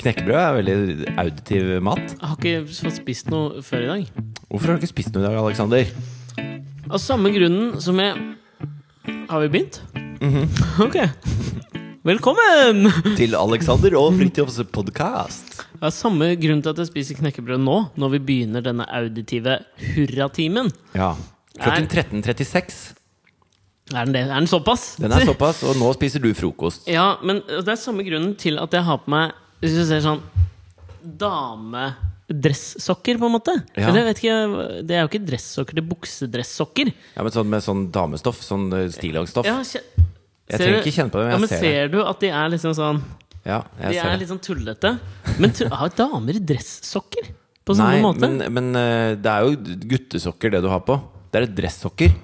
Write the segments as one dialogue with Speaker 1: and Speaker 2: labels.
Speaker 1: Knekkebrød er veldig auditiv mat.
Speaker 2: Jeg har ikke fått spist noe før i dag.
Speaker 1: Hvorfor har du ikke spist noe i dag, Aleksander?
Speaker 2: Av samme grunnen som jeg Har vi begynt?
Speaker 1: Mhm.
Speaker 2: Ok. Velkommen!
Speaker 1: Til Aleksander og Fridtjofs podkast.
Speaker 2: Av samme grunn til at jeg spiser knekkebrød nå, når vi begynner denne auditive hurratimen.
Speaker 1: Ja. Klokken
Speaker 2: Nei.
Speaker 1: 13.36.
Speaker 2: Er den det? Er den såpass?
Speaker 1: Den er såpass, og nå spiser du frokost.
Speaker 2: Ja, men det er samme grunnen til at jeg har på meg Hvis du ser sånn damedressokker, på en måte.
Speaker 1: Ja.
Speaker 2: Eller jeg vet ikke, det er jo ikke dressokker, det er buksedressokker.
Speaker 1: Ja, men sånn Med sånn damestoff. Sånn eh, stillongstoff.
Speaker 2: Ja, kje-
Speaker 1: Jeg
Speaker 2: ser
Speaker 1: trenger
Speaker 2: du-
Speaker 1: ikke kjenne på det, men
Speaker 2: ja,
Speaker 1: jeg
Speaker 2: men
Speaker 1: ser det.
Speaker 2: ser du at de er liksom sånn
Speaker 1: Ja, jeg ser
Speaker 2: De er
Speaker 1: det.
Speaker 2: litt sånn tullete. Men tr- har damer dressokker? På samme
Speaker 1: Nei,
Speaker 2: måte?
Speaker 1: men, men eh, det er jo guttesokker, det du har på. Det er et dressokker.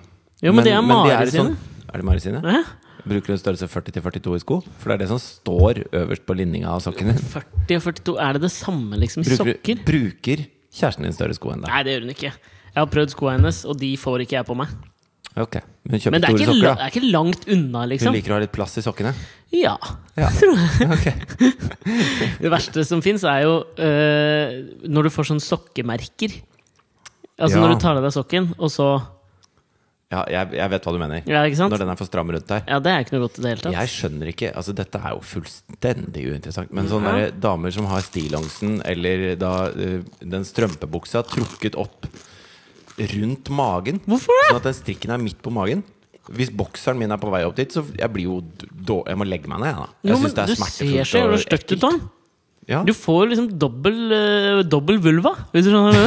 Speaker 2: Jo, men det er
Speaker 1: de
Speaker 2: Mari
Speaker 1: sånn-
Speaker 2: sine.
Speaker 1: Er det Mari sine?
Speaker 2: Hæ?
Speaker 1: Bruker hun størrelse 40-42 i sko? For det er det som står øverst på linninga av sokken din.
Speaker 2: 40 og 42, er det det samme liksom i
Speaker 1: Bruker,
Speaker 2: sokker?
Speaker 1: bruker kjæresten din større sko enn deg?
Speaker 2: Nei, det gjør hun ikke. Jeg har prøvd skoa hennes, og de får ikke jeg på meg.
Speaker 1: Ok, men hun kjøper
Speaker 2: Men det er
Speaker 1: store
Speaker 2: ikke, la,
Speaker 1: sokker,
Speaker 2: det
Speaker 1: da.
Speaker 2: er ikke langt unna,
Speaker 1: Hun
Speaker 2: liksom.
Speaker 1: liker å ha litt plass i sokkene.
Speaker 2: Ja.
Speaker 1: Ja. Ok.
Speaker 2: Det verste som fins, er jo øh, når du får sånne sokkemerker. Altså
Speaker 1: Ja.
Speaker 2: når du tar av deg sokken, og så
Speaker 1: Ja, jeg, jeg vet hva du mener.
Speaker 2: Ja, ikke sant?
Speaker 1: Når den er for stram rundt der.
Speaker 2: Ja, det er jo ikke noe godt i det hele tatt.
Speaker 1: Jeg skjønner ikke altså Dette er jo fullstendig uinteressant. Men sånne
Speaker 2: Ja.
Speaker 1: der damer som har stillongsen eller da eh, den strømpebuksa trukket opp rundt magen
Speaker 2: Hvorfor det?
Speaker 1: Sånn at den strikken er midt på magen. Hvis bokseren min er på vei opp dit, så jeg blir jo då, Jeg må legge meg ned, jeg, da.
Speaker 2: Jo,
Speaker 1: Jeg
Speaker 2: men
Speaker 1: syns det
Speaker 2: du
Speaker 1: er
Speaker 2: ser
Speaker 1: smertefullt
Speaker 2: så jævla støtt ut da.
Speaker 1: Ja.
Speaker 2: Du får liksom dobbel, øh, dobbel vulva, hvis du skjønner hva jeg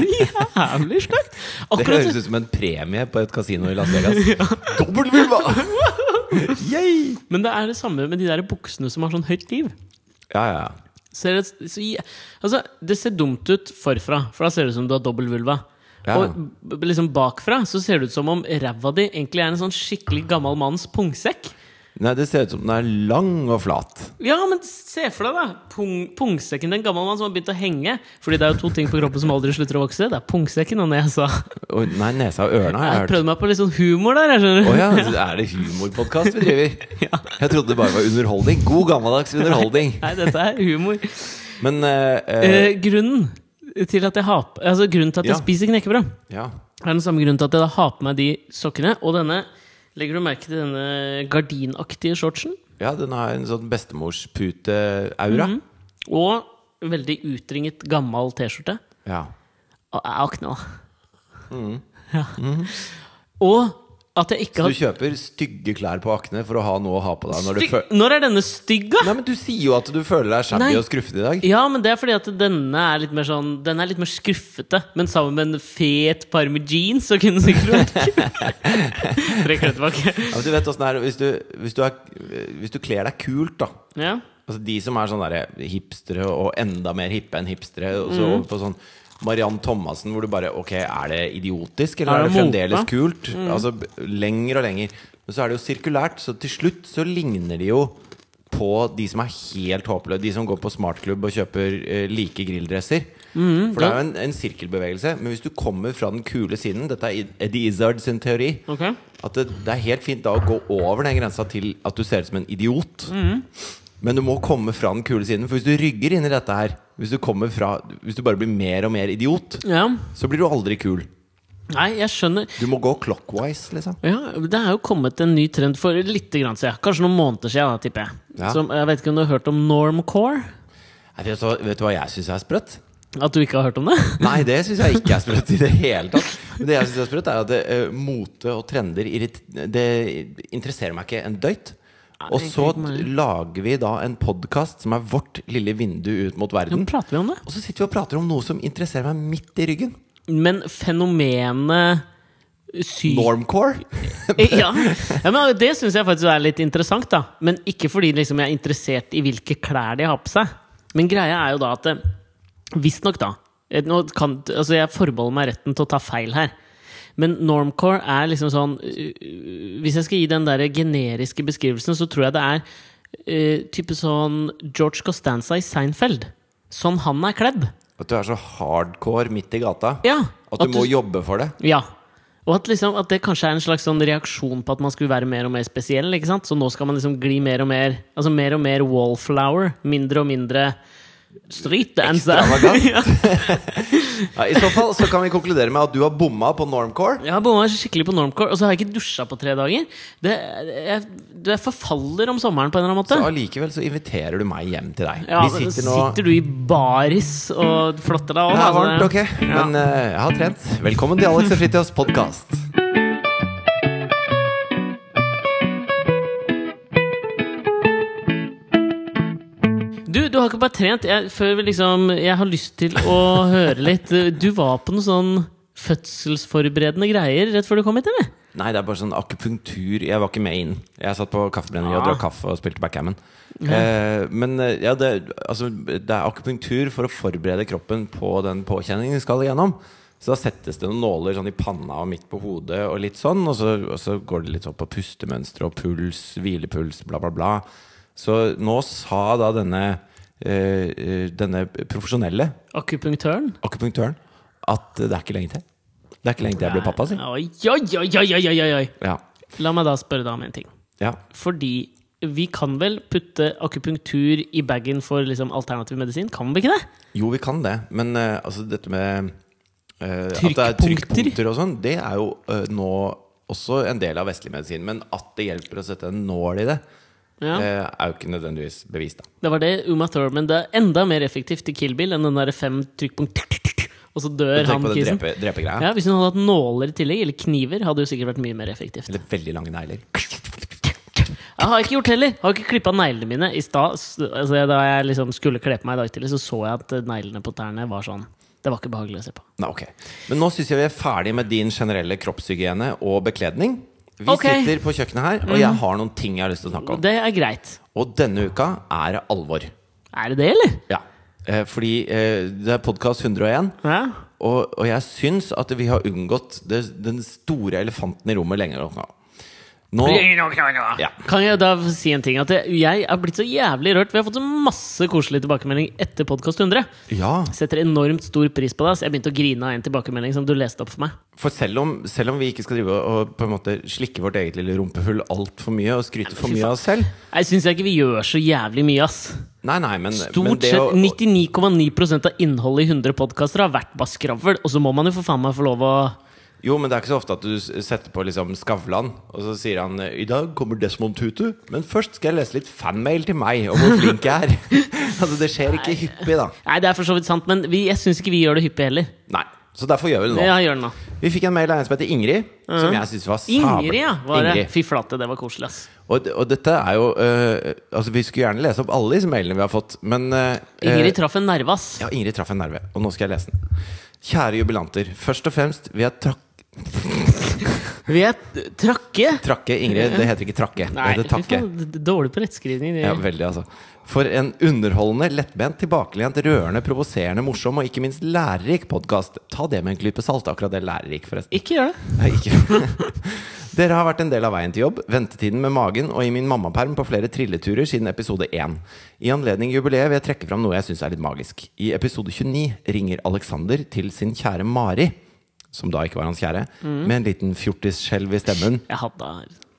Speaker 2: mener. Jævlig stygt!
Speaker 1: Det
Speaker 2: Akkurat
Speaker 1: høres ut som en premie på et kasino i Las Vegas. Dobbel vulva! Yay!
Speaker 2: Men det er det samme med de der buksene som har sånn høyt liv.
Speaker 1: Ja, ja, ja.
Speaker 2: Ser det, så, jæ- altså, det ser dumt ut forfra, for da ser det ut som du har dobbel vulva.
Speaker 1: Ja.
Speaker 2: Og b- b- liksom bakfra så ser det ut som om ræva di egentlig er en sånn skikkelig gammel manns pungsekk.
Speaker 1: Nei, det ser ut som den er lang og flat.
Speaker 2: Ja, men se for deg, da! Pung, pungsekken til en gammel mann som har begynt å henge. Fordi det er jo to ting på kroppen som aldri slutter å vokse. Det er pungsekken og nesa.
Speaker 1: Oi, nei, nesa og ørene har jeg
Speaker 2: Jeg
Speaker 1: hørt.
Speaker 2: prøvde meg på litt sånn humor der, jeg skjønner
Speaker 1: Å
Speaker 2: du.
Speaker 1: ja, er det humorpodkast vi driver? Jeg trodde det bare var underholdning. God gammeldags underholdning.
Speaker 2: Nei, dette er humor.
Speaker 1: Men eh, eh,
Speaker 2: Eh, grunnen til at jeg, har, på- altså, grunnen til at jeg
Speaker 1: Ja.
Speaker 2: spiser knekkebrød
Speaker 1: Ja.
Speaker 2: Det er den samme grunnen til at jeg da har på meg de sokkene. Og denne, legger du merke til denne gardinaktige shortsen?
Speaker 1: ja, den har en sånn bestemorsputeaura.
Speaker 2: Og veldig utringet, gammel T-skjorte.
Speaker 1: Ja.
Speaker 2: Og jeg er knall.
Speaker 1: Mm.
Speaker 2: Ja.
Speaker 1: Mm-hmm.
Speaker 2: Og at jeg
Speaker 1: Du
Speaker 2: ikke har
Speaker 1: kjøper stygge klær på Akne for å ha noe å ha på deg når du
Speaker 2: Stygg-
Speaker 1: føler
Speaker 2: Når er denne stygg, da?
Speaker 1: Nei, men du sier jo at du føler deg
Speaker 2: Nei.
Speaker 1: shabby og skruffete i dag.
Speaker 2: Ja, men det er fordi at denne er litt mer sånn Den er litt mer skuffete. Men sammen med en fet par med jeans, så kunne den sikkert vært kul. Trekker det tilbake.
Speaker 1: Ja, men du vet åssen det er hvis du, hvis, du er, hvis du kler deg kult, da.
Speaker 2: Ja.
Speaker 1: Altså De som er sånn der hipstere og enda mer hippe enn hipstere. Og
Speaker 2: Mhm.
Speaker 1: så over på sånn Mariann Thomassen, hvor du bare Ok, er det idiotisk, eller
Speaker 2: Er
Speaker 1: er
Speaker 2: det Mhm.
Speaker 1: det fremdeles
Speaker 2: mote?
Speaker 1: kult? Altså b- Lenger og lenger. Men så er det jo sirkulært, så til slutt så ligner de jo på de som er helt håpløse. De som går på smartklubb og kjøper eh, like grilldresser.
Speaker 2: Mhm,
Speaker 1: For det er jo en, en sirkelbevegelse. Men hvis du kommer fra den kule siden Dette er Eddie Izzard sin teori.
Speaker 2: Ok.
Speaker 1: At det, det er helt fint da å gå over den grensa til at du ser ut som en idiot. Men du må komme fra den kule siden. For hvis du rygger inn i dette her Hvis du, kommer fra, hvis du bare blir mer og mer idiot,
Speaker 2: Ja.
Speaker 1: så blir du aldri kul.
Speaker 2: Nei, jeg skjønner.
Speaker 1: Du må gå clockwise, liksom.
Speaker 2: Ja, Det er jo kommet en ny trend for litt grann siden. Kanskje noen måneder siden, da, tipper jeg.
Speaker 1: Ja.
Speaker 2: Som, jeg vet ikke om du har hørt om normcore?
Speaker 1: Nei, Vet du, hva- vet du hva jeg syns er sprøtt?
Speaker 2: At du ikke har hørt om det?
Speaker 1: Nei, det syns jeg ikke er sprøtt i det hele tatt. Men det jeg syns er sprøtt, er at det, eh, mote og trender irrit Det interesserer meg ikke en døyt. Og
Speaker 2: det
Speaker 1: så
Speaker 2: egentlig ikke meg.
Speaker 1: lager vi da en podkast som er vårt lille vindu ut mot
Speaker 2: Nå
Speaker 1: verden.
Speaker 2: prater vi om det.
Speaker 1: Og så sitter vi og prater om noe som interesserer meg midt i ryggen.
Speaker 2: Men fenomenet sy...
Speaker 1: Normcore.
Speaker 2: Eh, Ja. ja, men Det syns jeg faktisk er litt interessant, da. Men ikke fordi liksom, jeg er interessert i hvilke klær de har på seg. Men greia er jo da at eh, Visstnok, da. eh, Nå kan, altså jeg forbeholder meg retten til å ta feil her. Men normcore er liksom sånn eh, Hvis jeg skal gi den der generiske beskrivelsen, så tror jeg det er eh, type sånn George Costanza i Seinfeld. Sånn han er kledd.
Speaker 1: At du er så hardcore midt i gata
Speaker 2: Ja.
Speaker 1: at du
Speaker 2: At
Speaker 1: må
Speaker 2: du-
Speaker 1: jobbe for det.
Speaker 2: Ja. Og at, liksom, at det kanskje er en slags sånn reaksjon på at man skulle være mer og mer spesiell. ikke sant? Så nå skal man liksom gli mer og mer Altså mer og mer wallflower. Mindre og mindre street dancer.
Speaker 1: Extravagant. Ja, I så fall så kan vi konkludere med at du har bomma på normcore.
Speaker 2: Jeg har bomma skikkelig på normcore, og så har jeg ikke dusja på tre dager. Det, jeg, det forfaller om sommeren på en eller annen måte.
Speaker 1: Så allikevel så inviterer du meg hjem til deg.
Speaker 2: Ja,
Speaker 1: vi
Speaker 2: men
Speaker 1: sitter nå
Speaker 2: Sitter du i baris og flotter deg
Speaker 1: Det er
Speaker 2: altså,
Speaker 1: varmt, ok.
Speaker 2: ja.
Speaker 1: Men eh, jeg har trent. Velkommen til Alex og Fritjofs podkast.
Speaker 2: Du, du har ikke bare trent. Jeg, før vi liksom, jeg har lyst til å høre litt. Du var på noe sånn fødselsforberedende greier rett før du kom hit, eller?
Speaker 1: Nei, det er bare sånn akupunktur. Jeg var ikke med inn. Jeg satt på kaffebrenneriet og
Speaker 2: Ah.
Speaker 1: drakk kaffe og spilte backgammon. Eh, men eh, ja, det, altså, det er akupunktur for å forberede kroppen på den påkjenningen vi skal igjennom. Så da settes det noen nåler sånn i panna og midt på hodet og litt sånn. Og så, og så går det litt sånn på pustemønstre og puls, hvilepuls, bla, bla, bla. Så nå sa da denne, eh, eh, denne profesjonelle
Speaker 2: Akupunktøren?
Speaker 1: akupunktøren at det er ikke lenge til. Det er ikke lenge til jeg blir pappa, si.
Speaker 2: Oi, oi, oi, oi, oi, oi, oi.
Speaker 1: Ja.
Speaker 2: La meg da spørre deg om en ting.
Speaker 1: ja.
Speaker 2: Fordi vi kan vel putte akupunktur i bagen for liksom alternativ medisin? Kan vi ikke det?
Speaker 1: Jo, vi kan det, men eh, altså dette med eh, At det er
Speaker 2: Trykkpunkter.
Speaker 1: trykkpunkter og sånn, det er jo eh, nå også en del av vestlig medisin. Men at det hjelper å sette en nål i det,
Speaker 2: Ja.
Speaker 1: eh, er jo ikke nødvendigvis bevist, da.
Speaker 2: Det var det Uma Thurman Det er enda mer effektivt i Kill Bill enn den derre fem trykkpunkt Og så dør
Speaker 1: Tenk
Speaker 2: han
Speaker 1: på det
Speaker 2: kisen.
Speaker 1: drepe, drepegreia.
Speaker 2: Ja, hvis hun hadde hatt nåler i tillegg, eller kniver, hadde det sikkert vært mye mer effektivt.
Speaker 1: Eller veldig lange negler.
Speaker 2: Jeg har ikke gjort det heller! Har ikke klippa neglene mine. I stad, s- altså, da jeg liksom skulle kle på meg i dag tidlig, så så jeg at eh, neglene på tærne var sånn Det var ikke behagelig å se på.
Speaker 1: Nei, ok. Men nå syns jeg vi er ferdig med din generelle kroppshygiene og bekledning. Vi
Speaker 2: Ok. Mhm.
Speaker 1: sitter på kjøkkenet her, og jeg har noen ting jeg har lyst til å snakke om.
Speaker 2: Det er greit.
Speaker 1: Og denne uka er det alvor.
Speaker 2: Er det det, eller?
Speaker 1: Ja. Eh, fordi eh, det er podkast 101,
Speaker 2: Ja.
Speaker 1: og, og jeg syns at vi har unngått det, den store elefanten i rommet lenge nok nå. Nå Ja.
Speaker 2: Kan jeg da si en ting? At jeg- jeg er blitt så jævlig rørt. Vi har fått så masse koselig tilbakemelding etter Podkast 100.
Speaker 1: Ja,
Speaker 2: Setter enormt stor pris på deg. Så jeg begynte å grine av en tilbakemelding som du leste opp for meg.
Speaker 1: for selv om, selv om vi ikke skal drive og og på en måte slikke vårt eget lille rumpehull altfor mye og skryte for
Speaker 2: fy
Speaker 1: mye av oss selv
Speaker 2: Jeg syns ikke vi gjør så jævlig mye, ass.
Speaker 1: Nei, nei, men men
Speaker 2: Stort
Speaker 1: det
Speaker 2: sett
Speaker 1: å-
Speaker 2: 99,9 av innholdet i 100 podkaster har vært bare skravl. Og så må man jo for faen meg få lov å
Speaker 1: Jo, men det er ikke så ofte at du s- setter på liksom Skavlan, og så sier han I dag kommer Desmond Tutu, men først skal jeg lese litt fanmail til meg om hvor flink jeg er. altså, det skjer ikke hyppig, da.
Speaker 2: Nei, det er for så vidt sant, men vi, jeg syns ikke vi gjør det hyppig heller.
Speaker 1: Nei. Så derfor gjør vi det nå.
Speaker 2: Ja, gjør det nå.
Speaker 1: Vi fikk en mail av en som heter Ingrid, som jeg syns var sabel-
Speaker 2: Ingrid, ja. Var det.
Speaker 1: Ingrid.
Speaker 2: Fy flate, det var koselig, ass.
Speaker 1: Og, d- og dette er jo øh, Altså, vi skulle gjerne lese opp alle disse mailene vi har fått, men øh,
Speaker 2: Ingrid
Speaker 1: øh,
Speaker 2: traff en nerve, ass.
Speaker 1: ja, Ingrid traff en nerve, og nå skal jeg lese den. Kjære jubilanter. Først og fremst vil jeg trak
Speaker 2: Vi er t- trakke.
Speaker 1: trakke Ingrid. Det heter ikke trakke, det
Speaker 2: Nei,
Speaker 1: heter
Speaker 2: fy
Speaker 1: takke.
Speaker 2: faen, d- d- dårlig på rettskrivning.
Speaker 1: Ja,
Speaker 2: Det.
Speaker 1: veldig, altså. For en underholdende, lettbent, tilbakelent, rørende, provoserende, morsom og ikke minst lærerik podkast. Ta det med en klype salt, akkurat det lærerik, forresten.
Speaker 2: Ikke gjør det.
Speaker 1: Nei, ikke. Dere har vært en del av veien til jobb, ventetiden med magen og i min mammaperm på flere trilleturer siden episode 1. I anledning jubileet vil jeg trekke fram noe jeg syns er litt magisk. I episode 29 ringer Alexander til sin kjære Mari, som da ikke var hans kjære, med en liten fjortisskjelv i stemmen.
Speaker 2: Jeg hadde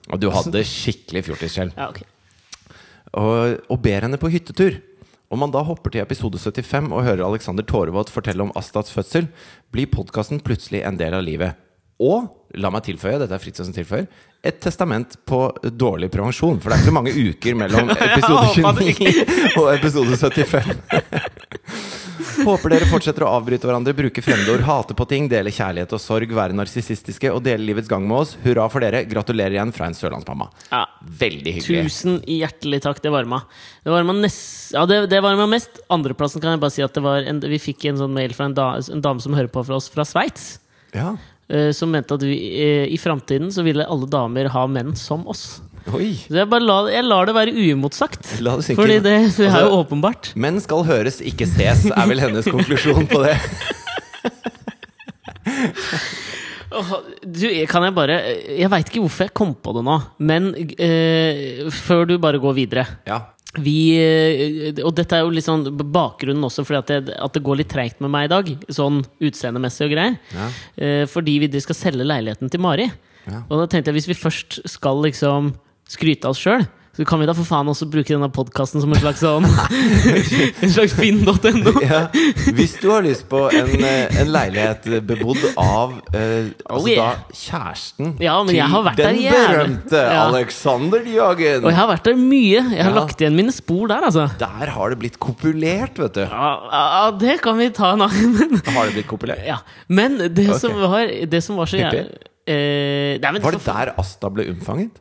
Speaker 1: Og du hadde skikkelig fjortisskjelv
Speaker 2: Ja, ok.
Speaker 1: og, og ber henne på hyttetur. Om man da hopper til episode 75 og hører Alexander Tårevold fortelle om Astats fødsel, blir podkasten plutselig en del av livet. Og, la meg tilføye, dette er Fritz som tilføyer, et testament på dårlig prevensjon. For det er ikke så mange uker mellom
Speaker 2: Jeg
Speaker 1: episode
Speaker 2: håper det
Speaker 1: 29 og episode 75. Håper dere fortsetter å avbryte hverandre, bruke fremmedord, hate på ting, dele kjærlighet og sorg, være narsissistiske og dele livets gang med oss. Hurra for dere. Gratulerer igjen fra en sørlandsmamma.
Speaker 2: Ja.
Speaker 1: Veldig hyggelig.
Speaker 2: Tusen hjertelig takk, det varma. Det varma, nest, ja, det, det varma mest. Andreplassen kan jeg bare si at det var en, vi fikk en sånn mail fra en, da, en dame som hører på fra oss fra Sveits.
Speaker 1: Ja.
Speaker 2: eh, som mente at vi, eh, i framtiden så ville alle damer ha menn som oss.
Speaker 1: Oi.
Speaker 2: Så jeg, bare la, jeg lar det være uimotsagt.
Speaker 1: La det synke
Speaker 2: Fordi
Speaker 1: inn.
Speaker 2: det, det er jo
Speaker 1: Altså-
Speaker 2: åpenbart.
Speaker 1: Menn skal høres, ikke ses, er vel hennes konklusjon på det.
Speaker 2: Åh, Du, kan jeg bare Jeg veit ikke hvorfor jeg kom på det nå, men eh, før du bare går videre
Speaker 1: Ja.
Speaker 2: vi eh, Og dette er jo litt sånn bakgrunnen også, fordi at det, at det går litt treigt med meg i dag. Sånn utseendemessig og greier.
Speaker 1: Ja.
Speaker 2: Eh, Fordi vi de skal selge leiligheten til Mari.
Speaker 1: Ja.
Speaker 2: Og da tenkte jeg hvis vi først skal liksom skryte av oss sjøl, så kan vi da for faen også bruke denne podkasten som en slags sånn En slags finn.no.
Speaker 1: Ja. Hvis du har lyst på en, eh, en leilighet bebodd av eh, altså
Speaker 2: yeah.
Speaker 1: da kjæresten
Speaker 2: Ja, men jeg har vært der
Speaker 1: den
Speaker 2: jævlig.
Speaker 1: berømte
Speaker 2: Ja.
Speaker 1: Alexander Jagen.
Speaker 2: Og jeg har vært der mye. Jeg har
Speaker 1: Ja.
Speaker 2: lagt igjen mine spor der, altså.
Speaker 1: Der har det blitt kopulert, vet du.
Speaker 2: Ja, ja, det kan vi ta en annen
Speaker 1: Har det blitt kopulert?
Speaker 2: ja. Men det,
Speaker 1: Ok.
Speaker 2: som var, det som var så jævlig
Speaker 1: Hyppig?
Speaker 2: eh, nei, men
Speaker 1: Var det
Speaker 2: så,
Speaker 1: der Asta ble unnfanget?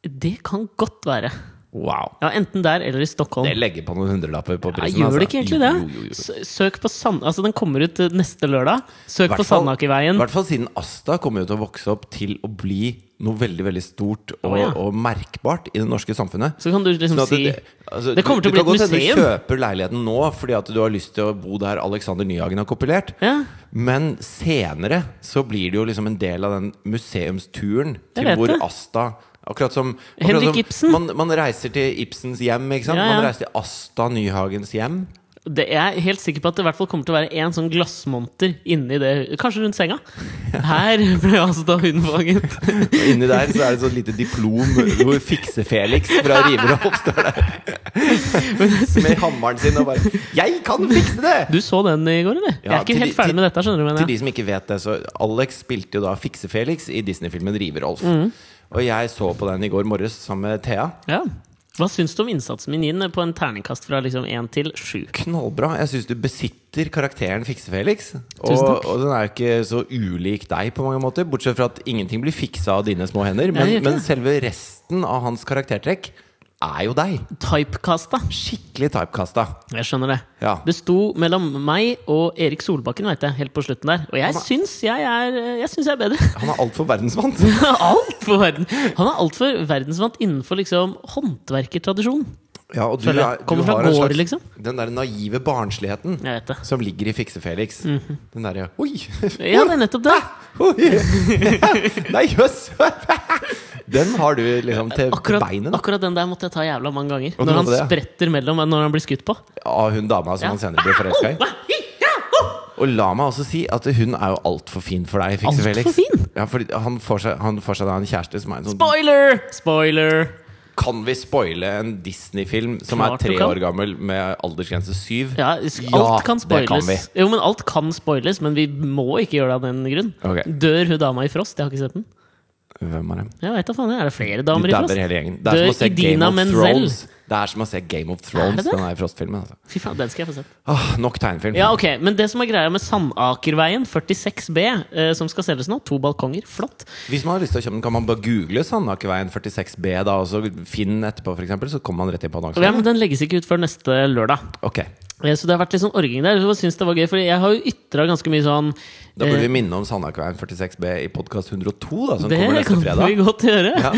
Speaker 2: det kan godt være.
Speaker 1: Wow.
Speaker 2: Ja, Enten der eller i Stockholm.
Speaker 1: Det legger på noen hundrelapper på
Speaker 2: Ja,
Speaker 1: prisen.
Speaker 2: gjør det
Speaker 1: altså.
Speaker 2: ikke egentlig det?
Speaker 1: Jo, jo, jo.
Speaker 2: S- Søk på Sand... Altså, den kommer ut eh, neste lørdag. Søk på
Speaker 1: Hvert fall-
Speaker 2: Sandakerveien.
Speaker 1: hvert fall siden Asta kommer jo til å vokse opp til å bli noe veldig veldig stort og,
Speaker 2: Å, ja.
Speaker 1: og merkbart i det norske samfunnet.
Speaker 2: Så kan du liksom
Speaker 1: Sånn at
Speaker 2: si
Speaker 1: det, altså,
Speaker 2: Det kommer
Speaker 1: du-
Speaker 2: til å bli
Speaker 1: du kan
Speaker 2: et
Speaker 1: godt hende Du
Speaker 2: museum.
Speaker 1: kjøper leiligheten nå fordi at du har lyst til å bo der Alexander Nyhagen har kopulert.
Speaker 2: Ja.
Speaker 1: Men senere så blir det jo liksom en del av den museumsturen
Speaker 2: Jeg
Speaker 1: til
Speaker 2: vet
Speaker 1: hvor
Speaker 2: det.
Speaker 1: Asta Akkurat som, akkurat
Speaker 2: Henrik
Speaker 1: som
Speaker 2: Ibsen.
Speaker 1: Man, man reiser til Ibsens hjem, ikke sant?
Speaker 2: Ja, ja.
Speaker 1: Man reiser til Asta Nyhagens hjem.
Speaker 2: det, Jeg er helt sikker på at det i hvert fall kommer til å være én sånn glassmonter inni det Kanskje rundt senga. Her ble altså da hundfanget.
Speaker 1: Og inni der så er det et sånt lite diplom hvor Fikse-Felix fra River og Hoff står der med hammeren sin og bare 'Jeg kan fikse det!'
Speaker 2: Du så den i går, eller? jeg
Speaker 1: Ja,
Speaker 2: er ikke
Speaker 1: til
Speaker 2: helt
Speaker 1: de-
Speaker 2: ferdig
Speaker 1: til-
Speaker 2: med dette. skjønner du men
Speaker 1: Til
Speaker 2: jeg.
Speaker 1: de som ikke vet det, så Alex spilte jo da Fikse-Felix i Disney-filmen River-Olf.
Speaker 2: Mm.
Speaker 1: Og jeg så på den i går morges sammen med Thea.
Speaker 2: Ja. Hva syns du om innsatsen min inn på en terningkast fra liksom én til sju?
Speaker 1: Knallbra. Jeg syns du besitter karakteren Fikse-Felix. Og,
Speaker 2: Tusen takk.
Speaker 1: og den er jo ikke så ulik deg på mange måter, bortsett fra at ingenting blir fiksa av dine små hender.
Speaker 2: Nei,
Speaker 1: Men,
Speaker 2: det gjør ikke
Speaker 1: men
Speaker 2: det.
Speaker 1: selve resten av hans karaktertrekk er jo deg.
Speaker 2: Typecasta.
Speaker 1: Skikkelig typecasta.
Speaker 2: Jeg skjønner det.
Speaker 1: Ja.
Speaker 2: Det sto mellom meg og Erik Solbakken, vet jeg, helt på slutten der. Og jeg syns jeg er, eh, jeg, syns jeg er bedre.
Speaker 1: Han er altfor verdensvant.
Speaker 2: alt for verden. Han er altfor verdensvant innenfor liksom håndverkertradisjon.
Speaker 1: Ja, og du,
Speaker 2: Føler jeg.
Speaker 1: er- du
Speaker 2: Kommer fra
Speaker 1: har en
Speaker 2: gård,
Speaker 1: slags
Speaker 2: liksom.
Speaker 1: Den der naive barnsligheten
Speaker 2: Jeg vet det.
Speaker 1: som ligger i Fikse-Felix.
Speaker 2: Mhm.
Speaker 1: Den derre Oi!
Speaker 2: Ja, det er nettopp det.
Speaker 1: Oi! Nei, jøss! Den har du liksom til
Speaker 2: Akkurat,
Speaker 1: beinet. da.
Speaker 2: akkurat den der måtte jeg ta jævla mange ganger.
Speaker 1: du
Speaker 2: Når han
Speaker 1: måtte det, ja.
Speaker 2: spretter mellom når han blir skutt på.
Speaker 1: Av hun dama som
Speaker 2: Ja.
Speaker 1: han senere blir forelska i. Og la meg også si at hun er jo altfor fin for deg, Fikse-Felix.
Speaker 2: Altfor fin?
Speaker 1: Ja, fordi han får seg, han får seg da en kjæreste som er en sånn
Speaker 2: Spoiler! Spoiler!
Speaker 1: Kan vi spoile en Disney-film som
Speaker 2: Klart
Speaker 1: er
Speaker 2: du
Speaker 1: tre
Speaker 2: kan.
Speaker 1: år gammel med aldersgrense syv?
Speaker 2: Ja, s-
Speaker 1: Ja,
Speaker 2: alt kan
Speaker 1: det kan
Speaker 2: spoiles. Jo, men alt kan spoiles, men vi må ikke gjøre det av den grunn.
Speaker 1: Ok.
Speaker 2: Dør hun dama i Frost? Jeg har ikke sett den.
Speaker 1: Hvem er det?
Speaker 2: Jeg vet da faen, er det flere
Speaker 1: Du
Speaker 2: damer i Frost?
Speaker 1: dabber hele gjengen. Det er som å
Speaker 2: Dør
Speaker 1: se Game
Speaker 2: Idina
Speaker 1: of
Speaker 2: Menzel.
Speaker 1: Thrones. Det er som å se Game of Thrones,
Speaker 2: Er det det?
Speaker 1: den her Frost-filmen. Altså.
Speaker 2: Fy faen, den skal jeg få sett.
Speaker 1: Åh, nok tegnefilm.
Speaker 2: Ja, ok, Men det som er greia med Sandakerveien 46B, eh, som skal selges nå, to balkonger, flott.
Speaker 1: Hvis man har lyst til å kjøpe den, kan man bare google Sandakerveien 46B, da, og så Finn etterpå, for eksempel, så kommer man rett inn på
Speaker 2: Ja, men
Speaker 1: annonsen.
Speaker 2: Den legges ikke ut før neste lørdag.
Speaker 1: Ok,
Speaker 2: Eh, Så det har vært litt sånn orging der. Jeg synes det var gøy, fordi jeg har jo ytra ganske mye sånn
Speaker 1: Da burde vi
Speaker 2: eh,
Speaker 1: minne om Sandakerveien 46B i podkast 102, da, som
Speaker 2: Det
Speaker 1: kommer neste
Speaker 2: kan vi
Speaker 1: fredag.
Speaker 2: godt gjøre.
Speaker 1: Ja.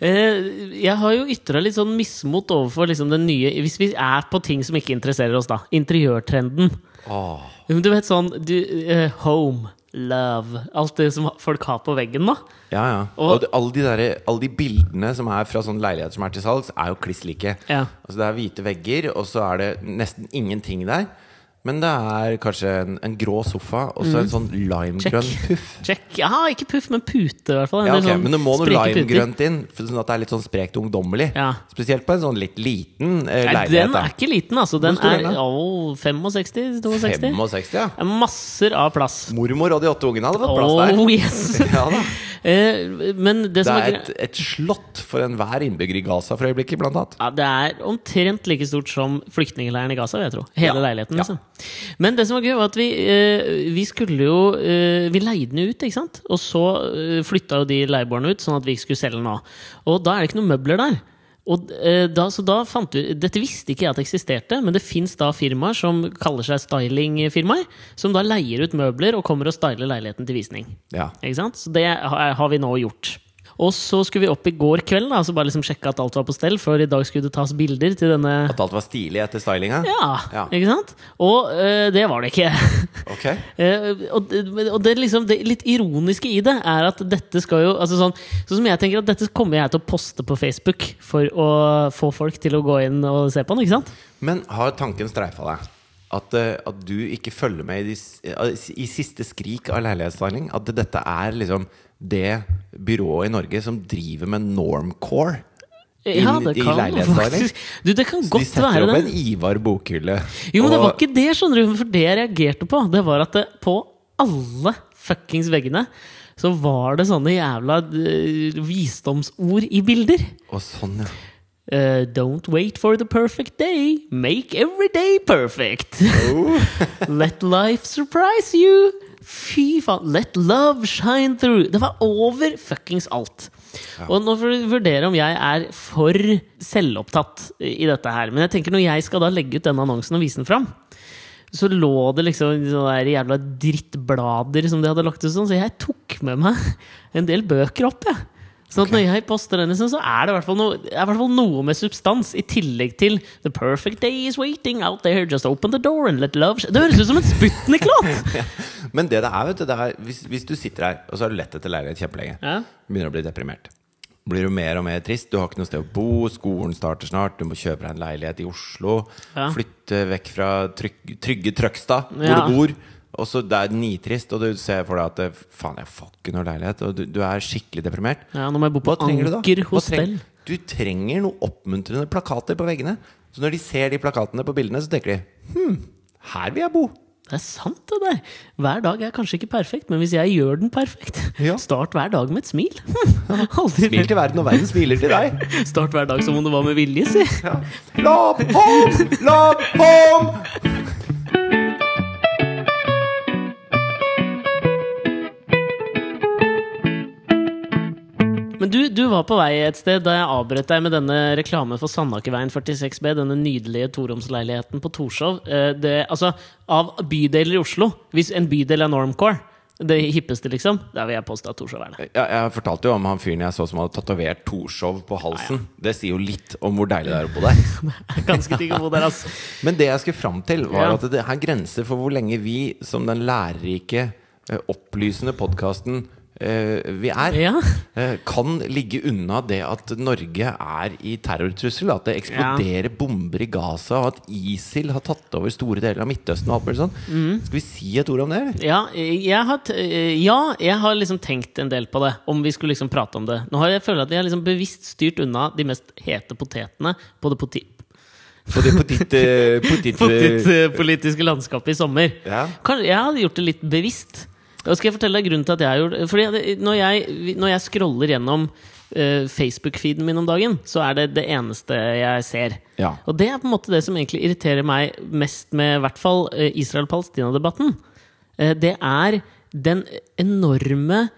Speaker 2: Eh, Jeg har jo ytra litt sånn mismot overfor liksom den nye Hvis vi er på ting som ikke interesserer oss, da. Interiørtrenden.
Speaker 1: Åh,
Speaker 2: Men Du vet sånn du, eh, Home, love Alt det som folk har på veggen nå.
Speaker 1: ja, ja. Og,
Speaker 2: Og-
Speaker 1: det- alle, de derre- alle de bildene som er fra sånne leiligheter som er til salgs, er jo kliss like.
Speaker 2: Ja.
Speaker 1: Altså, det er hvite vegger, og så er det nesten ingenting der. Men det er kanskje en, en grå sofa, og så en
Speaker 2: Mm.
Speaker 1: sånn limegrønn
Speaker 2: Check.
Speaker 1: puff.
Speaker 2: Check. Ja, ikke puff, men pute, i hvert fall. En
Speaker 1: Ja,
Speaker 2: del
Speaker 1: ok,
Speaker 2: sånn
Speaker 1: men det må noe
Speaker 2: spreke puter.
Speaker 1: limegrønt inn, for sånn at det er litt sånn sprekt ungdommelig.
Speaker 2: Ja.
Speaker 1: Spesielt på en sånn litt liten eh,
Speaker 2: Nei,
Speaker 1: leilighet.
Speaker 2: den er ikke liten, altså. Den
Speaker 1: Hvor stor er
Speaker 2: er
Speaker 1: den, da?
Speaker 2: å, 65-62?
Speaker 1: 65, ja.
Speaker 2: Masser av plass.
Speaker 1: Mormor og de åtte ungene hadde fått plass der.
Speaker 2: Oh yes!
Speaker 1: Ja da.
Speaker 2: Eh, Men det
Speaker 1: Det
Speaker 2: som
Speaker 1: er
Speaker 2: er
Speaker 1: et, et slott for enhver innbygger i Gaza for øyeblikket, blant annet.
Speaker 2: Ja, det er omtrent like stort som flyktningleiren i Gaza, vil jeg tro. Hele
Speaker 1: Ja,
Speaker 2: leiligheten,
Speaker 1: ja.
Speaker 2: liksom. Men det som var gøy, var at vi, eh, vi skulle jo eh, Vi leide den jo ut, ikke sant? Og så eh, flytta jo de leieboerne ut, sånn at vi ikke skulle selge den nå. Og da er det ikke noen møbler der. Og eh, da, så da fant vi, Dette visste ikke jeg at eksisterte, men det fins da firmaer som kaller seg stylingfirmaer, som da leier ut møbler og kommer og styler leiligheten til visning.
Speaker 1: Ja.
Speaker 2: Ikke sant? Så det har har vi nå gjort. Og så skulle vi opp i går kveld da, så bare liksom sjekke at alt var på stell, før i dag skulle det tas bilder til denne
Speaker 1: At alt var stilig etter stylinga?
Speaker 2: ja,
Speaker 1: Ja.
Speaker 2: ikke sant? Og eh, det var det ikke.
Speaker 1: Ok.
Speaker 2: Eh, og det- og det, liksom, det litt ironiske i det er at dette skal jo altså sånn, sånn som jeg tenker at Dette kommer jeg til å poste på Facebook for å få folk til å gå inn og se på den. ikke sant?
Speaker 1: Men har tanken streifa deg? At, eh, at du ikke følger med i, de, s- eh, i siste skrik av leilighetsstyling? At dette er liksom det byrået i Norge som driver med normcore? I- i leilighetsstyling?
Speaker 2: Du, det kan
Speaker 1: De
Speaker 2: godt
Speaker 1: setter
Speaker 2: være
Speaker 1: opp
Speaker 2: det.
Speaker 1: en Ivar Bokhylle.
Speaker 2: Jo, men det var
Speaker 1: og-
Speaker 2: ikke det, skjønner du. For det jeg reagerte på, det var at det, på alle fuckings veggene så var det sånne jævla eh, visdomsord i bilder.
Speaker 1: og sånn, ja.
Speaker 2: Uh, don't wait for the perfect day. Make every day perfect. Let life surprise you. Fy faen. Let love shine through. Det var over fuckings alt. Og nå får du vurdere om jeg er for selvopptatt i dette her. Men jeg tenker når jeg skal da legge ut denne annonsen og vise den fram, så lå det liksom sånne der jævla drittblader som de hadde lagt ut sånn, så jeg tok med meg en del bøker opp, jeg. Sånn at når jeg poster den, liksom, så er det i hvert fall noe, det er i hvert fall noe med substans, i tillegg til The perfect day is waiting out there, just open the door and let love sh-» Det høres ut som en Sputnik-låt!
Speaker 1: Men det det er, vet du, det er hvis, hvis du sitter her, og så har du lett etter leilighet kjempelenge,
Speaker 2: Ja.
Speaker 1: begynner å bli deprimert. Blir du mer og mer trist? Du har ikke noe sted å bo, skolen starter snart, du må kjøpe deg en leilighet i Oslo.
Speaker 2: Ja.
Speaker 1: Flytte vekk fra trygg, trygge Trøgstad, hvor
Speaker 2: Ja.
Speaker 1: du bor. Og så Det er nitrist, og du ser for deg at det- faen, jeg får ikke noe leilighet. Og du, du er skikkelig deprimert.
Speaker 2: Ja, nå må jeg bo
Speaker 1: Hva
Speaker 2: på
Speaker 1: trenger du da?
Speaker 2: Anker
Speaker 1: Hva
Speaker 2: hostell.
Speaker 1: treng- Du trenger noen oppmuntrende plakater på veggene. Så når de ser de plakatene på bildene, så tenker de Hm, her vil jeg bo.
Speaker 2: Det er sant, det der. Hver dag er kanskje ikke perfekt, men hvis jeg gjør den perfekt
Speaker 1: Ja.
Speaker 2: Start hver dag med et smil. Aldri
Speaker 1: Smil til verden, og verden smiler til deg.
Speaker 2: Start hver dag som om det var med vilje, si.
Speaker 1: Love home! Love home!
Speaker 2: Men du, du var på vei et sted da jeg avbrøt deg med denne reklamen for Sandakerveien 46B. Denne nydelige toromsleiligheten på Torshov. Eh, Det, altså, av bydeler i Oslo, hvis en bydel er normcore, det hippeste, liksom, da vil jeg påstå at Torshov er det.
Speaker 1: Ja, jeg fortalte jo om han fyren jeg så som hadde tatovert Torshov på halsen. Det sier jo litt om hvor deilig det er å bo der.
Speaker 2: Ganske digg å bo der, altså.
Speaker 1: Men det jeg skulle fram til, var
Speaker 2: Ja.
Speaker 1: at det her grenser for hvor lenge vi som den lærerike, eh, opplysende podkasten vi er,
Speaker 2: Ja.
Speaker 1: eh, kan ligge unna det at Norge er i terrortrussel. At det eksploderer bomber i Gaza, og at ISIL har tatt over store deler av Midtøsten. og alt mulig sånn.
Speaker 2: Mm.
Speaker 1: Skal vi si et ord om det? eller?
Speaker 2: Ja, jeg har, t- eh, ja, jeg har liksom tenkt en del på det, om vi skulle liksom prate om det. Nå har jeg føler at jeg har liksom bevisst styrt unna de mest hete potetene på det poti
Speaker 1: På det potet... eh, potet,
Speaker 2: på
Speaker 1: eh,
Speaker 2: ditt eh, politiske landskap i sommer.
Speaker 1: Ja.
Speaker 2: Kanskje, jeg hadde gjort det litt bevisst. Da skal jeg fortelle deg grunnen til at jeg har gjort Fordi det- når jeg, når jeg scroller gjennom eh, Facebook-feeden min om dagen, så er det det eneste jeg ser.
Speaker 1: Ja.
Speaker 2: Og det er på en måte det som egentlig irriterer meg mest med i hvert fall eh, Israel-Palestina-debatten. Eh, Det er den enorme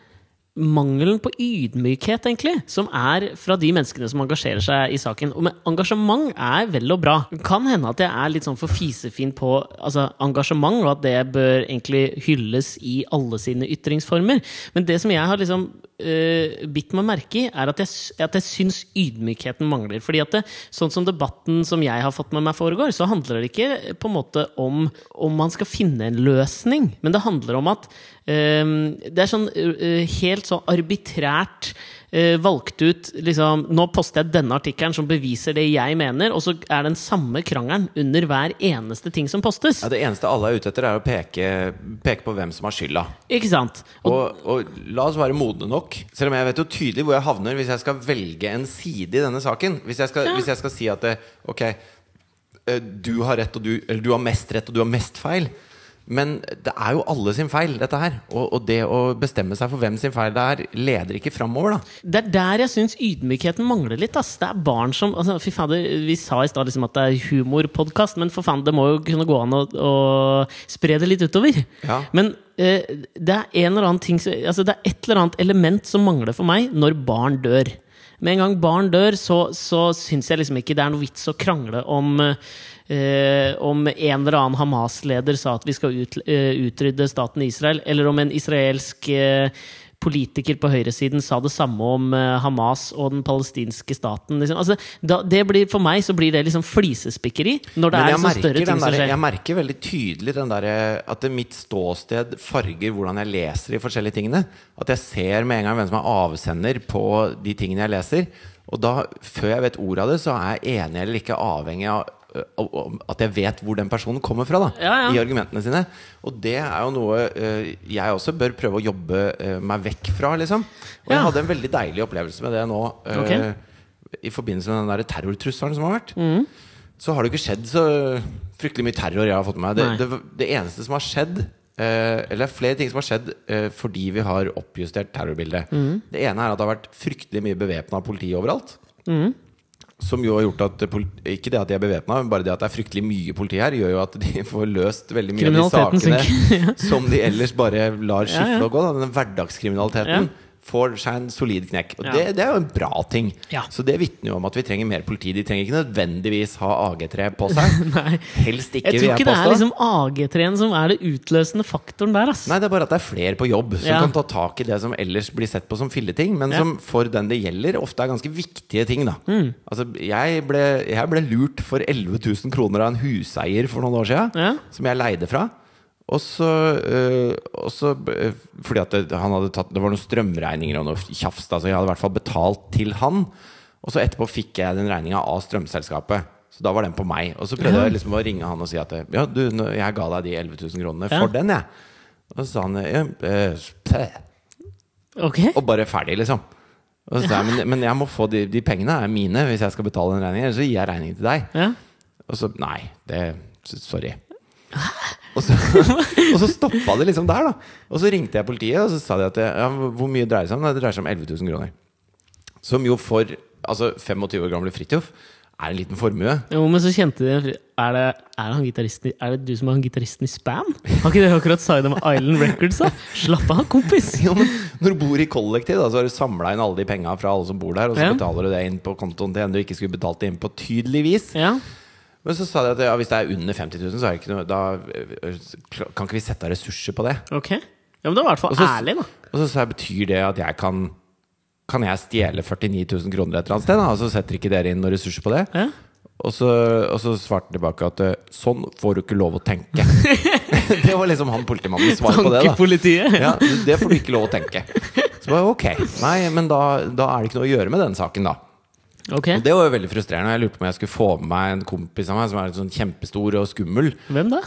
Speaker 2: mangelen på ydmykhet, egentlig, som er fra de menneskene som engasjerer seg i saken. Og men engasjement er vel og bra. Kan hende at jeg er litt sånn for fisefin på altså, engasjement, og at det bør egentlig hylles i alle sine ytringsformer. Men det som jeg har liksom eh, bitt meg merke i, er at jeg, s- at jeg syns ydmykheten mangler. Fordi at det, sånn som debatten som jeg har fått med meg foregår, så handler det ikke eh, på en måte om om man skal finne en løsning, men det handler om at ehm, det er sånn eh, helt sånn arbitrært eh, valgt ut liksom, Nå poster jeg denne artikkelen som beviser det jeg mener, og så er det den samme krangelen under hver eneste ting som postes.
Speaker 1: Ja, det eneste alle er ute etter, er å peke, peke på hvem som har skylda.
Speaker 2: Ikke sant? Og,
Speaker 1: Og, og la oss være modne nok. Selv om jeg vet jo tydelig hvor jeg havner hvis jeg skal velge en side i denne saken. Hvis jeg skal, hvis jeg skal si at det, ok, eh, du har rett, og du, eller du har mest rett, og du har mest feil. Men det er jo alle sin feil, dette her. Og, og det å bestemme seg for hvem sin feil det er, leder ikke framover, da.
Speaker 2: det er der jeg syns ydmykheten mangler litt. Ass. Det er barn som altså, Fy fader, vi sa i stad liksom at det er humorpodkast, men for faen, det må jo kunne gå an å, å spre det litt utover.
Speaker 1: Ja.
Speaker 2: Men eh, det er en eller annen ting som- altså, Det er et eller annet element som mangler for meg når barn dør. Med en gang barn dør, så, så syns jeg liksom ikke det er noe vits å krangle om eh, om en eller annen Hamas-leder sa at vi skal ut, eh, utrydde staten Israel, eller om en israelsk eh, politiker på høyresiden sa det samme om eh, Hamas og den palestinske staten. Liksom. Altså, da, det blir, for meg så blir det liksom flisespikkeri, når det
Speaker 1: Men
Speaker 2: er
Speaker 1: jeg
Speaker 2: liksom
Speaker 1: merker,
Speaker 2: større ting
Speaker 1: den der,
Speaker 2: som skjer.
Speaker 1: jeg merker veldig tydelig den der, at det mitt ståsted farger hvordan jeg leser de forskjellige tingene. At jeg ser med en gang hvem som er avsender på de tingene jeg leser. Og da, før jeg vet ordet av det, så er jeg enig eller ikke avhengig av ø, av- at jeg vet hvor den personen kommer fra. da
Speaker 2: Ja, ja.
Speaker 1: I argumentene sine. Og det er jo noe ø, jeg også bør prøve å jobbe ø, meg vekk fra, liksom. Og jeg
Speaker 2: Ja.
Speaker 1: hadde en veldig deilig opplevelse med det nå. ø,
Speaker 2: Ok. Mm.
Speaker 1: I forbindelse med den der terrortrusselen som har vært så har det ikke skjedd så fryktelig mye terror jeg har fått med meg. Det, det, det eneste som har skjedd, eh, eller flere ting som har skjedd eh, fordi vi har oppjustert terrorbildet. Det ene er at det har vært fryktelig mye bevæpna politi overalt. Som jo har gjort at polit- Ikke det at de er bevæpna, men bare det at det er fryktelig mye politi her, gjør jo at de får løst veldig mye av de
Speaker 2: Kriminaliteten
Speaker 1: sakene som de ellers bare lar
Speaker 2: Ja, ja.
Speaker 1: skifle og gå. Da. Denne hverdagskriminaliteten
Speaker 2: Ja.
Speaker 1: får seg en solid knekk. Og
Speaker 2: Ja.
Speaker 1: det, det er jo en bra ting.
Speaker 2: Ja.
Speaker 1: Så det vitner jo om at vi trenger mer politi. De trenger ikke nødvendigvis ha AG3 på seg.
Speaker 2: Nei.
Speaker 1: Helst ikke,
Speaker 2: Jeg
Speaker 1: vil
Speaker 2: tror
Speaker 1: jeg
Speaker 2: ikke det er
Speaker 1: påstå.
Speaker 2: liksom AG3-en som er det utløsende faktoren der. Ass.
Speaker 1: Nei, det er bare at det er flere på jobb som
Speaker 2: Ja.
Speaker 1: kan ta tak i det som ellers blir sett på som filleting, men
Speaker 2: Ja. Mm.
Speaker 1: som for den det gjelder, ofte er ganske viktige ting, da. Altså, jeg ble, jeg ble lurt for 11 000 kroner av en huseier for noen år siden,
Speaker 2: Ja.
Speaker 1: som jeg leide fra. Og så, øh, og så øh, Fordi at det, han hadde tatt Det var noen strømregninger og noe tjafs, da, så jeg hadde i hvert fall betalt til han. Og så etterpå fikk jeg den regninga av strømselskapet. Så da var den på meg. Og så prøvde jeg liksom å ringe han og si at Ja, du, nå- jeg ga deg de 11 000 kronene
Speaker 2: Ja.
Speaker 1: for den, jeg. Og så sa han «Ja, eh, pæ»,
Speaker 2: Ok,
Speaker 1: Og bare ferdig, liksom. Og så sa jeg, men, men jeg må få de, de pengene er mine hvis jeg skal betale den regningen. Ellers så gir jeg regningen til deg.
Speaker 2: ja.
Speaker 1: Og så Nei, det Sorry. Og så, og så stoppa det liksom der, da. Og så ringte jeg politiet, og så sa de at ja, hvor mye dreier det seg om? Nei, Det dreier seg om 11 000 kroner. Som jo for altså 25 år gamle Fridtjof er en liten formue.
Speaker 2: Jo, men så kjente de Er det, er han gitaristen i, er det du som er han gitaristen i Span? Har ikke dere akkurat Side of Island Records? da? Slapp av, kompis!
Speaker 1: Jo, men når du bor i kollektiv, da, så har du samla inn alle de penga fra alle som bor der, og så
Speaker 2: Ja.
Speaker 1: betaler du det inn på kontoen til en du ikke skulle betalt det inn på, tydeligvis.
Speaker 2: Ja,
Speaker 1: Men så sa de at ja, hvis det er under 50 000, så er det ikke noe Da øh, øh, kan ikke vi sette av ressurser på det.
Speaker 2: ok. Ja, Men det var i hvert fall
Speaker 1: Og så-
Speaker 2: ærlig, da.
Speaker 1: Og så sa jeg, betyr det at jeg kan Kan jeg stjele 49 000 kroner et eller annet sted? Da? Og så setter ikke dere inn noen ressurser på det?
Speaker 2: Ja.
Speaker 1: Og så, og så svarte han tilbake at øh, sånn får du ikke lov å tenke. det var liksom han politimannens svar på det. da
Speaker 2: Tankepolitiet.
Speaker 1: ja, det får du ikke lov å tenke. Så bare ok, nei, men da, da er det ikke noe å gjøre med den saken, da.
Speaker 2: Ok,
Speaker 1: Og det var jo veldig frustrerende. Jeg lurte på om jeg skulle få med meg en kompis av meg som er sånn kjempestor og skummel.
Speaker 2: Hvem da?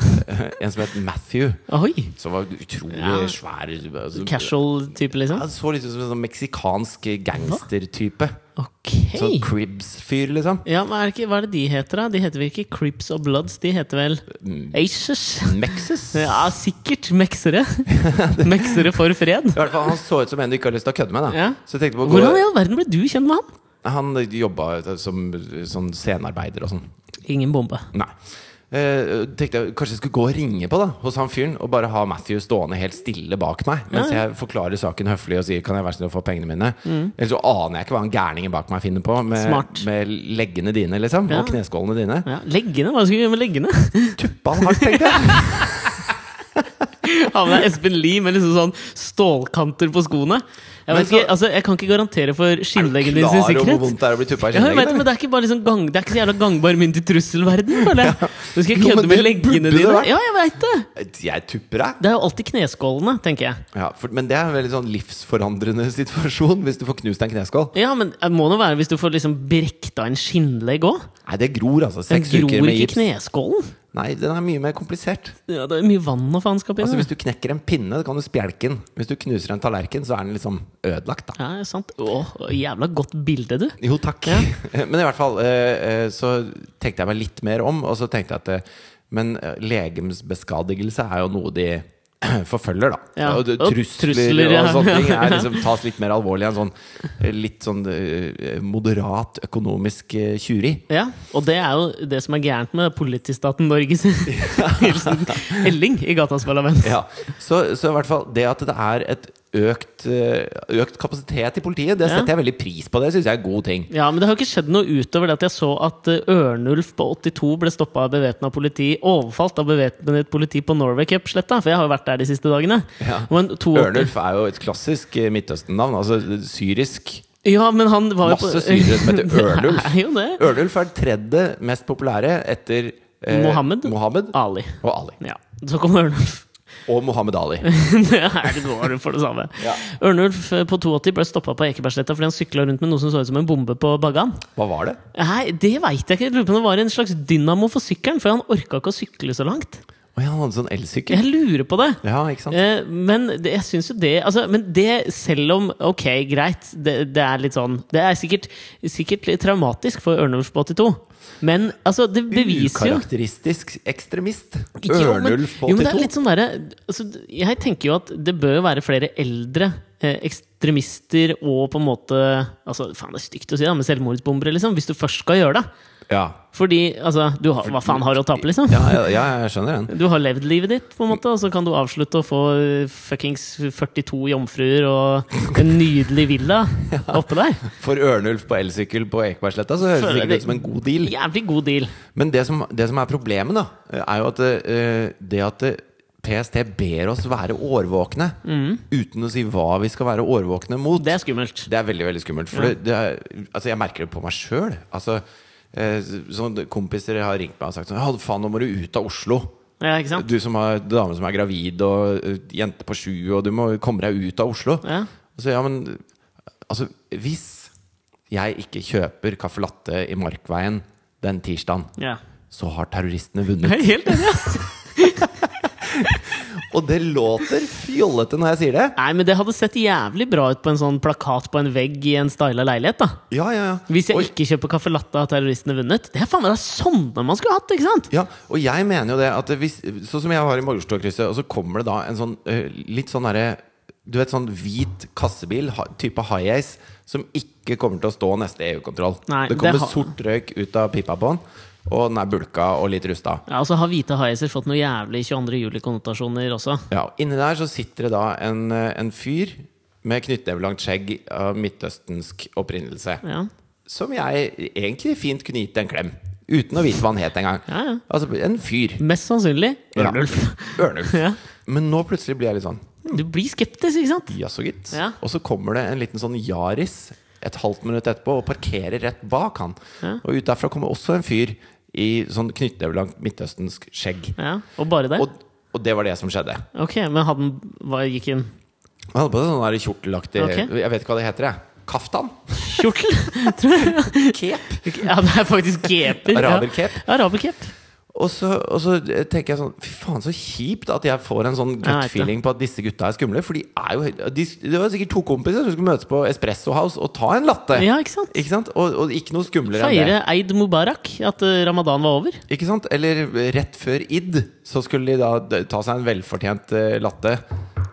Speaker 1: En som het Matthew,
Speaker 2: Oi!
Speaker 1: som var utrolig
Speaker 2: Ja.
Speaker 1: svær. altså,
Speaker 2: Casual type, liksom?
Speaker 1: Han så litt ut som en sånn meksikansk gangstertype.
Speaker 2: Ok.
Speaker 1: Sånn Cribs-fyr, liksom.
Speaker 2: Ja, men er det ikke, Hva er det de heter, da? De heter vel ikke Crips og Bloods? De heter vel
Speaker 1: Mm.
Speaker 2: Aces?
Speaker 1: Mexes.
Speaker 2: Ja, sikkert meksere. Meksere for fred.
Speaker 1: I hvert fall, Han så ut som en du ikke har lyst til å kødde med. Da.
Speaker 2: Ja.
Speaker 1: Så jeg tenkte på å gå-
Speaker 2: Hvordan i all verden ble du kjent med han?
Speaker 1: Han jobba som sånn scenearbeider og sånn.
Speaker 2: Ingen bombe.
Speaker 1: Nei. Eh, tenkte jeg Kanskje jeg skulle gå og ringe på da hos han fyren og bare ha Matthew stående helt stille bak meg mens jeg forklarer saken høflig og sier 'kan jeg være snill å få pengene mine'? Ellers så aner jeg ikke hva han gærningen bak meg finner på med,
Speaker 2: Mm. Smart.
Speaker 1: med leggene dine liksom
Speaker 2: Ja.
Speaker 1: og kneskålene dine.
Speaker 2: Ja, leggene? Hva skulle vi gjøre med leggene?
Speaker 1: Tuppa han hardt, tenkte jeg!
Speaker 2: Ha med deg Espen Lie med liksom sånn stålkanter på skoene. Jeg,
Speaker 1: Men
Speaker 2: vet ikke,
Speaker 1: så-
Speaker 2: altså, jeg kan ikke garantere for skinnleggene dine sin
Speaker 1: Klar over hvor
Speaker 2: sikkerhet.
Speaker 1: vondt det er å bli tuppa i
Speaker 2: Ja, jeg vet,
Speaker 1: skinnleggen.
Speaker 2: men det er ikke bare liksom gang, Det er ikke så jævla gangbar mynt i trusselverden føler jeg. Du skal
Speaker 1: Jo, men
Speaker 2: kødde med
Speaker 1: det
Speaker 2: leggene
Speaker 1: burde det
Speaker 2: dine.
Speaker 1: vært.
Speaker 2: Ja, jeg vet det!
Speaker 1: da. Jeg tupper deg.
Speaker 2: Det er jo alltid kneskålene, tenker jeg.
Speaker 1: Ja, for, men det er en veldig sånn livsforandrende situasjon hvis du får knust en kneskål.
Speaker 2: Ja, men det må nå være hvis du får liksom brekta en skinnlegg òg.
Speaker 1: Nei, det gror, altså.
Speaker 2: Den
Speaker 1: Seks uker
Speaker 2: gror
Speaker 1: med
Speaker 2: ikke
Speaker 1: gips.
Speaker 2: kneskålen.
Speaker 1: Nei, den er mye mer komplisert.
Speaker 2: Ja, det er mye vann og faenskap i
Speaker 1: Altså
Speaker 2: den.
Speaker 1: Hvis du knekker en pinne, kan du spjelke den. Hvis du knuser en tallerken, så er den liksom ødelagt. da
Speaker 2: Ja, det er sant. Åh, jævla godt bilde, du.
Speaker 1: jo, takk. Men i hvert fall eh, eh, så tenkte jeg meg litt mer om, og så tenkte jeg at eh, Men eh, legemsbeskadigelse er jo noe de forfølger, da.
Speaker 2: Ja.
Speaker 1: Og det-
Speaker 2: Og
Speaker 1: trusler,
Speaker 2: trusler, ja.
Speaker 1: og sånne ting er liksom, tas litt mer alvorlig enn sånn eh, litt sånn eh, moderat økonomisk eh, tjuveri.
Speaker 2: Ja, Og det er jo det som er gærent med politistaten Norges hilsen Elling i Gatas parlament.
Speaker 1: Ja, så, så i hvert fall det at det er et økt, eh, økt kapasitet i politiet. Det
Speaker 2: Ja.
Speaker 1: setter jeg veldig pris på. Det syns jeg er god ting.
Speaker 2: Ja, men det har jo ikke skjedd noe utover det at jeg så at eh, Ørnulf på 82 ble stoppa av bevæpna politi, overfalt av bevæpnet politi på Norway Cup-sletta, for jeg har jo vært der de siste dagene.
Speaker 1: Ja.
Speaker 2: Men 82
Speaker 1: Ørnulf er jo et klassisk eh, Midtøsten-navn. Altså syrisk.
Speaker 2: Ja, men han var jo
Speaker 1: Masse syrere som heter Ørnulf.
Speaker 2: Det er jo det.
Speaker 1: Ørnulf er den tredje mest populære etter eh,
Speaker 2: Mohammed. Ah.
Speaker 1: Mohammed
Speaker 2: Ali.
Speaker 1: og Ali.
Speaker 2: Ja. Så kom Ørnulf.
Speaker 1: Og Mohammed Ali.
Speaker 2: det er det går for det samme.
Speaker 1: Ja.
Speaker 2: Ørnulf eh, på 82 ble stoppa på Ekebergsletta fordi han sykla rundt med noe som så ut som en bombe på Baggan.
Speaker 1: Hva var det?
Speaker 2: Nei, det veit jeg ikke. Jeg lurer på om det var en slags dynamo for sykkelen, for han orka ikke å sykle så langt.
Speaker 1: Å ja, han hadde sånn elsykkel.
Speaker 2: Jeg lurer på det.
Speaker 1: Ja, ikke sant?
Speaker 2: Eh, men det, jeg syns jo det altså, Men det, selv om Ok, greit, det, det er litt sånn Det er sikkert, sikkert litt traumatisk for Ørnulf på 82, men altså, det beviser jo
Speaker 1: Ukarakteristisk ekstremist.
Speaker 2: Jo, men-
Speaker 1: Ørnulf på
Speaker 2: Jo, men det er
Speaker 1: 82.
Speaker 2: litt sånn derre altså, Jeg tenker jo at det bør jo være flere eldre eh, ekstremister og på en måte Altså, faen, det er stygt å si, da, men selvmordsbombere, liksom. Hvis du først skal gjøre det.
Speaker 1: Ja.
Speaker 2: Fordi, altså du har, Hva faen har du å tape, liksom?
Speaker 1: Ja, ja, ja, jeg skjønner den.
Speaker 2: Du har levd livet ditt, på en måte, og så kan du avslutte og få eh, fuckings 42 jomfruer og en nydelig villa oppe der.
Speaker 1: For Ørnulf på elsykkel på Ekebergsletta så høres det
Speaker 2: Føler
Speaker 1: sikkert
Speaker 2: det-
Speaker 1: ut som en god deal.
Speaker 2: Jævlig god deal.
Speaker 1: Men det som, det som er problemet, da, er jo at eh, det at eh, PST ber oss være årvåkne uten å si hva vi skal være årvåkne mot,
Speaker 2: Mm. Det er skummelt.
Speaker 1: det er veldig veldig skummelt. For det, det er, altså jeg merker det på meg sjøl. Altså, eh, sånn kompiser har ringt meg og sagt sånn Ja, faen, nå må du ut av Oslo.
Speaker 2: Ja, ikke sant?
Speaker 1: Du som har dame som er gravid, og eh, jente på sju, og du må komme deg ut av Oslo.
Speaker 2: Ja.
Speaker 1: Og så, ja, men altså, hvis jeg ikke kjøper caffè latte i Markveien den tirsdagen,
Speaker 2: Ja.
Speaker 1: så har terroristene vunnet.
Speaker 2: Jeg er Helt enig, ass!
Speaker 1: Og det låter fjollete når jeg sier det.
Speaker 2: Nei, men det hadde sett jævlig bra ut på en sånn plakat på en vegg i en styla leilighet, da.
Speaker 1: Ja, ja, ja.
Speaker 2: Hvis jeg
Speaker 1: og,
Speaker 2: ikke kjøper caffè latte, har terroristene vunnet. Det er faen meg det er sånne man skulle hatt, ikke sant?
Speaker 1: ja, og jeg mener jo det at hvis, Sånn som jeg var i Majorstua-krysset, og så kommer det da en sånn eh, litt sånn derre Du vet sånn hvit kassebil, ha, type high-ace, som ikke kommer til å stå neste EU-kontroll.
Speaker 2: Nei,
Speaker 1: Det kommer
Speaker 2: det har-
Speaker 1: sort røyk ut av pipa på den, og den er bulka og litt rusta.
Speaker 2: Ja, og så har hvite haiser fått noe jævlig 22. juli-konnotasjoner også.
Speaker 1: Ja, og Inni der så sitter det da en, eh, en fyr med knyttnevelangt skjegg av midtøstensk opprinnelse.
Speaker 2: Ja.
Speaker 1: Som jeg egentlig fint kunne gitt en klem. Uten å vite hva han het engang.
Speaker 2: Ja, ja.
Speaker 1: Altså, en fyr.
Speaker 2: Mest sannsynlig
Speaker 1: Ja.
Speaker 2: Ørnulf.
Speaker 1: Ørnulf.
Speaker 2: Ja.
Speaker 1: Men nå plutselig blir jeg litt sånn
Speaker 2: Du blir skeptisk, ikke sant?
Speaker 1: Jaså, gitt.
Speaker 2: Ja.
Speaker 1: Og så kommer det en liten sånn Yaris et halvt minutt etterpå og parkerer rett bak han. Og ut derfra kommer også en fyr i sånn knyttnevelangt midtøstensk skjegg.
Speaker 2: Ja, Og bare det?
Speaker 1: Og, og det var det som skjedde.
Speaker 2: Ok, men hadde den hva gikk den?
Speaker 1: Han hadde på seg sånn der kjortelaktig
Speaker 2: Ok.
Speaker 1: Jeg vet ikke hva det heter, jeg. Kaftan?
Speaker 2: Kjortel?
Speaker 1: Kep?
Speaker 2: Ja, det er faktisk geper. ja.
Speaker 1: Araberkep?
Speaker 2: Ja, Araberkep.
Speaker 1: Og så, og så tenker jeg sånn Fy faen, så kjipt at jeg får en sånn
Speaker 2: Jeg
Speaker 1: gut
Speaker 2: vet det.
Speaker 1: feeling på at disse gutta er skumle. For de er jo de, Det var sikkert to kompiser som skulle møtes på Espresso House og ta en latte.
Speaker 2: Ja, ikke sant?
Speaker 1: Ikke sant? Og, og ikke noe skumlere enn det.
Speaker 2: Feire Eid Mubarak, at eh, ramadan var over.
Speaker 1: Ikke sant? Eller eh, rett før id, så skulle de da d- ta seg en velfortjent eh, latte.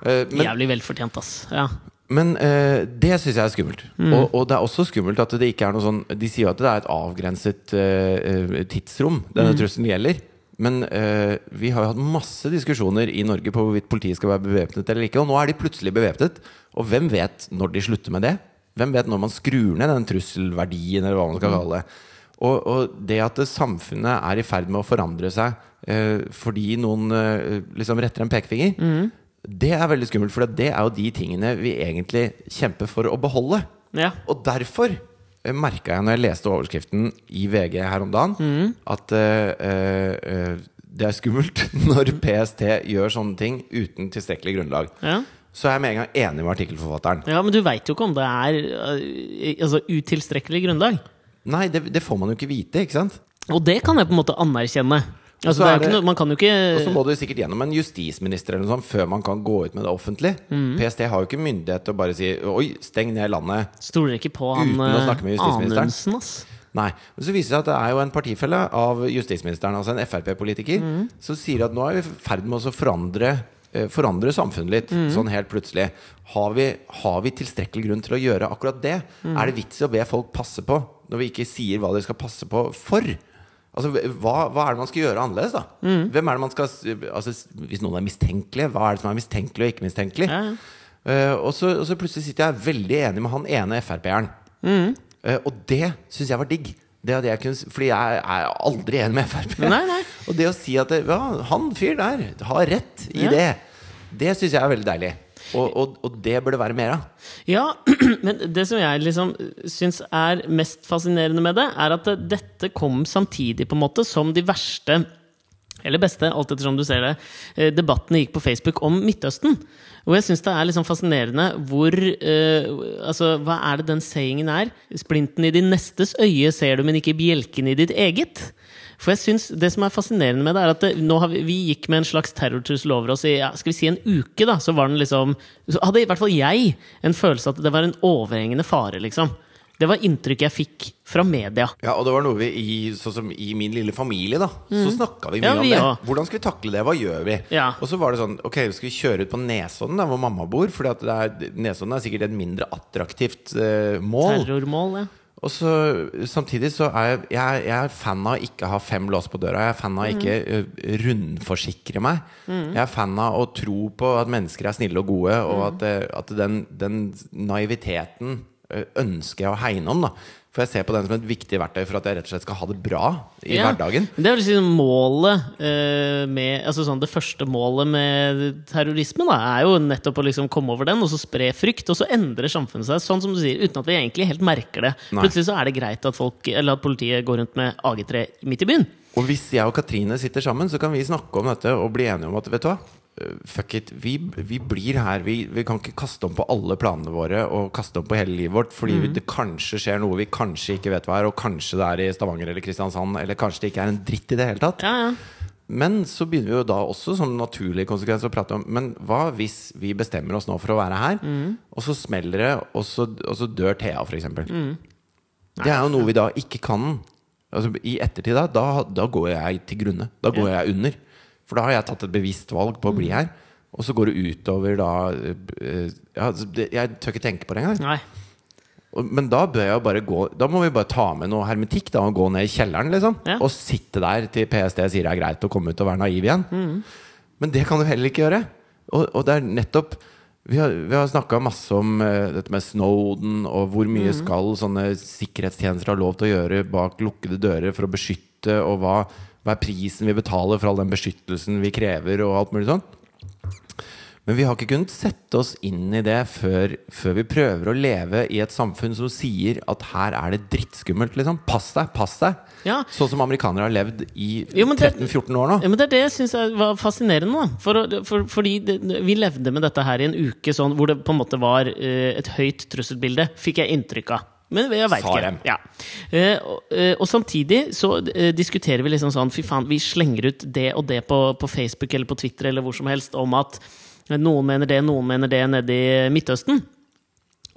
Speaker 1: Eh, men
Speaker 2: Jævlig velfortjent, ass. Ja.
Speaker 1: men eh, det syns jeg er skummelt. Og, og det er også skummelt at det ikke er noe sånn De sier jo at det er et avgrenset eh, eh, tidsrom denne trusselen gjelder. Men eh, vi har jo hatt masse diskusjoner i Norge på hvorvidt politiet skal være bevæpnet eller ikke. Og nå er de plutselig bevæpnet. Og hvem vet når de slutter med det? Hvem vet når man skrur ned den trusselverdien, eller hva man skal kalle det? Og, og det at det samfunnet er i ferd med å forandre seg eh, fordi noen eh, liksom retter en pekefinger, det er veldig skummelt. For det er jo de tingene vi egentlig kjemper for å beholde.
Speaker 2: ja.
Speaker 1: Og derfor merka jeg når jeg leste overskriften i VG her om dagen, at eh, eh, eh, det er skummelt når PST gjør sånne ting uten tilstrekkelig grunnlag.
Speaker 2: ja.
Speaker 1: Så er jeg med en gang enig med artikkelforfatteren.
Speaker 2: Ja, men du veit jo ikke om det er eh, altså, utilstrekkelig grunnlag.
Speaker 1: Nei, det, det får man jo ikke vite, ikke sant?
Speaker 2: Og det kan jeg på en måte anerkjenne. Altså,
Speaker 1: så
Speaker 2: det er
Speaker 1: er
Speaker 2: jo ikke
Speaker 1: det-
Speaker 2: noe, man kan jo ikke
Speaker 1: Og så må du sikkert gjennom en justisminister eller noe sånt før man kan gå ut med det offentlig. PST har jo ikke myndighet til å bare si 'oi, steng ned landet'.
Speaker 2: Stoler ikke på han
Speaker 1: Uten å
Speaker 2: eh,
Speaker 1: snakke med justisministeren.
Speaker 2: Anundsen, ass.
Speaker 1: Nei. Men så viser det seg at det er jo en partifelle av justisministeren, altså en Frp-politiker,
Speaker 2: Mm.
Speaker 1: som sier at nå er vi i ferd med oss å forandre, eh, forandre samfunnet litt,
Speaker 2: Mm.
Speaker 1: sånn helt plutselig. Har vi, har vi tilstrekkelig grunn til å gjøre akkurat det?
Speaker 2: Mm.
Speaker 1: Er det vits i å be folk passe på, når vi ikke sier hva de skal passe på for? Altså, hva, hva er det man skal gjøre annerledes, da?
Speaker 2: Mm.
Speaker 1: Hvem er det man skal s- altså, s- Hvis noen er mistenkelige, hva er det som er mistenkelig og ikke mistenkelig?
Speaker 2: Ja, ja.
Speaker 1: Eh, og, så, og så plutselig sitter jeg veldig enig med han ene Frp-eren.
Speaker 2: Mm.
Speaker 1: Eh, og det syns jeg var digg. Det at jeg kunne, s- fordi jeg er aldri enig med Frp.
Speaker 2: Nei, nei.
Speaker 1: Og det å si at det, ja, han fyr der har rett i
Speaker 2: Ja.
Speaker 1: det, det syns jeg er veldig deilig. Og, og, og det bør det være mer av.
Speaker 2: Ja, men det som jeg liksom syns er mest fascinerende med det, er at det- dette kom samtidig på en måte som de verste eller beste, alt ettersom du ser det, eh, debattene gikk på Facebook om Midtøsten. Og jeg syns det er liksom fascinerende hvor eh, Altså, hva er det den sayingen er? Splinten i din nestes øye ser du, men ikke bjelken i ditt eget. For jeg synes Det som er fascinerende med det, er at det, nå har vi, vi gikk med en slags terrortrussel over oss i ja, skal vi si en uke. da, Så var den liksom Så hadde i hvert fall jeg en følelse at det var en overhengende fare, liksom. Det var inntrykket jeg fikk fra media.
Speaker 1: Ja, og det var noe vi i, sånn som i min lille familie, da. Så snakka vi mye
Speaker 2: Mm. Ja,
Speaker 1: om
Speaker 2: vi
Speaker 1: det.
Speaker 2: også.
Speaker 1: Hvordan skal vi takle det? Hva gjør vi?
Speaker 2: Ja.
Speaker 1: Og så var det sånn Ok, skal vi kjøre ut på Nesodden, der hvor mamma bor? For Nesodden er sikkert et mindre attraktivt eh, mål.
Speaker 2: Terrormål, ja.
Speaker 1: Og så Samtidig så er jeg, jeg, jeg er fan av å ikke ha fem lås på døra. Jeg er fan av å ikke ø, rundforsikre meg. Jeg er fan av å tro på at mennesker er snille og gode, og at, ø, at den, den naiviteten ø, ønsker jeg å hegne om. Da. For jeg ser på den som et viktig verktøy for at jeg rett og slett skal ha det bra i
Speaker 2: Ja,
Speaker 1: hverdagen.
Speaker 2: men Det er vel liksom målet eh, med Altså sånn det første målet med terrorisme da, er jo nettopp å liksom komme over den, og så spre frykt, og så endrer samfunnet seg, sånn som du sier, uten at vi egentlig helt merker det.
Speaker 1: Nei.
Speaker 2: Plutselig så er det greit at, folk, eller at politiet går rundt med AG3 midt i byen.
Speaker 1: Og hvis jeg og Katrine sitter sammen, så kan vi snakke om dette og bli enige om at vet du hva? Eh, Fuck it, vi, vi blir her. Vi, vi kan ikke kaste om på alle planene våre og kaste om på hele livet vårt fordi det kanskje skjer noe vi kanskje ikke vet hva er, og kanskje det er i Stavanger eller Kristiansand, eller kanskje det ikke er en dritt i det hele tatt.
Speaker 2: Ja, ja.
Speaker 1: Men så begynner vi jo da også som naturlig konsekvens å prate om Men hva hvis vi bestemmer oss nå for å være her, og så smeller det, og så, og så dør Thea, for eksempel. Det er jo noe vi da ikke kan. Altså, I ettertid, da, da, da går jeg til grunne. Da går jeg under. For da har jeg tatt et bevisst valg på å bli her. Og så går det utover da eh, eh, ja, altså, det- Jeg tør ikke tenke på det engang.
Speaker 2: Nei.
Speaker 1: Og- Men da bør jeg jo bare gå Da må vi bare ta med noe hermetikk da, og gå ned i kjelleren. liksom
Speaker 2: Ja.
Speaker 1: Og sitte der til PST sier det er greit å komme ut og være naiv igjen. Men det kan du heller ikke gjøre. Og, og det er nettopp Vi har, vi har snakka masse om eh, dette med Snowden, og hvor mye
Speaker 2: Mm.
Speaker 1: skal sånne sikkerhetstjenester ha lov til å gjøre bak lukkede dører for å beskytte, og hva, hva er prisen vi betaler for all den beskyttelsen vi krever, og alt mulig sånn. Men vi har ikke kunnet sette oss inn i det før, før vi prøver å leve i et samfunn som sier at her er det drittskummelt, liksom. Pass deg, pass deg!
Speaker 2: Ja.
Speaker 1: Sånn som amerikanere har levd i
Speaker 2: Jo, men det-
Speaker 1: 13-14 år nå.
Speaker 2: Ja, men det er det jeg syns var fascinerende. Da. For, å- for, fordi det, vi levde med dette her i en uke sånn, hvor det på en måte var eh, et høyt trusselbilde, fikk jeg inntrykk av. Men jeg veit
Speaker 1: Sa
Speaker 2: ikke.
Speaker 1: dem.
Speaker 2: Ja. Eh, og, eh, og samtidig så eh, diskuterer vi liksom sånn Fy faen, vi slenger ut det og det på, på Facebook eller på Twitter eller hvor som helst om at eh, noen mener det, noen mener det nede i Midtøsten.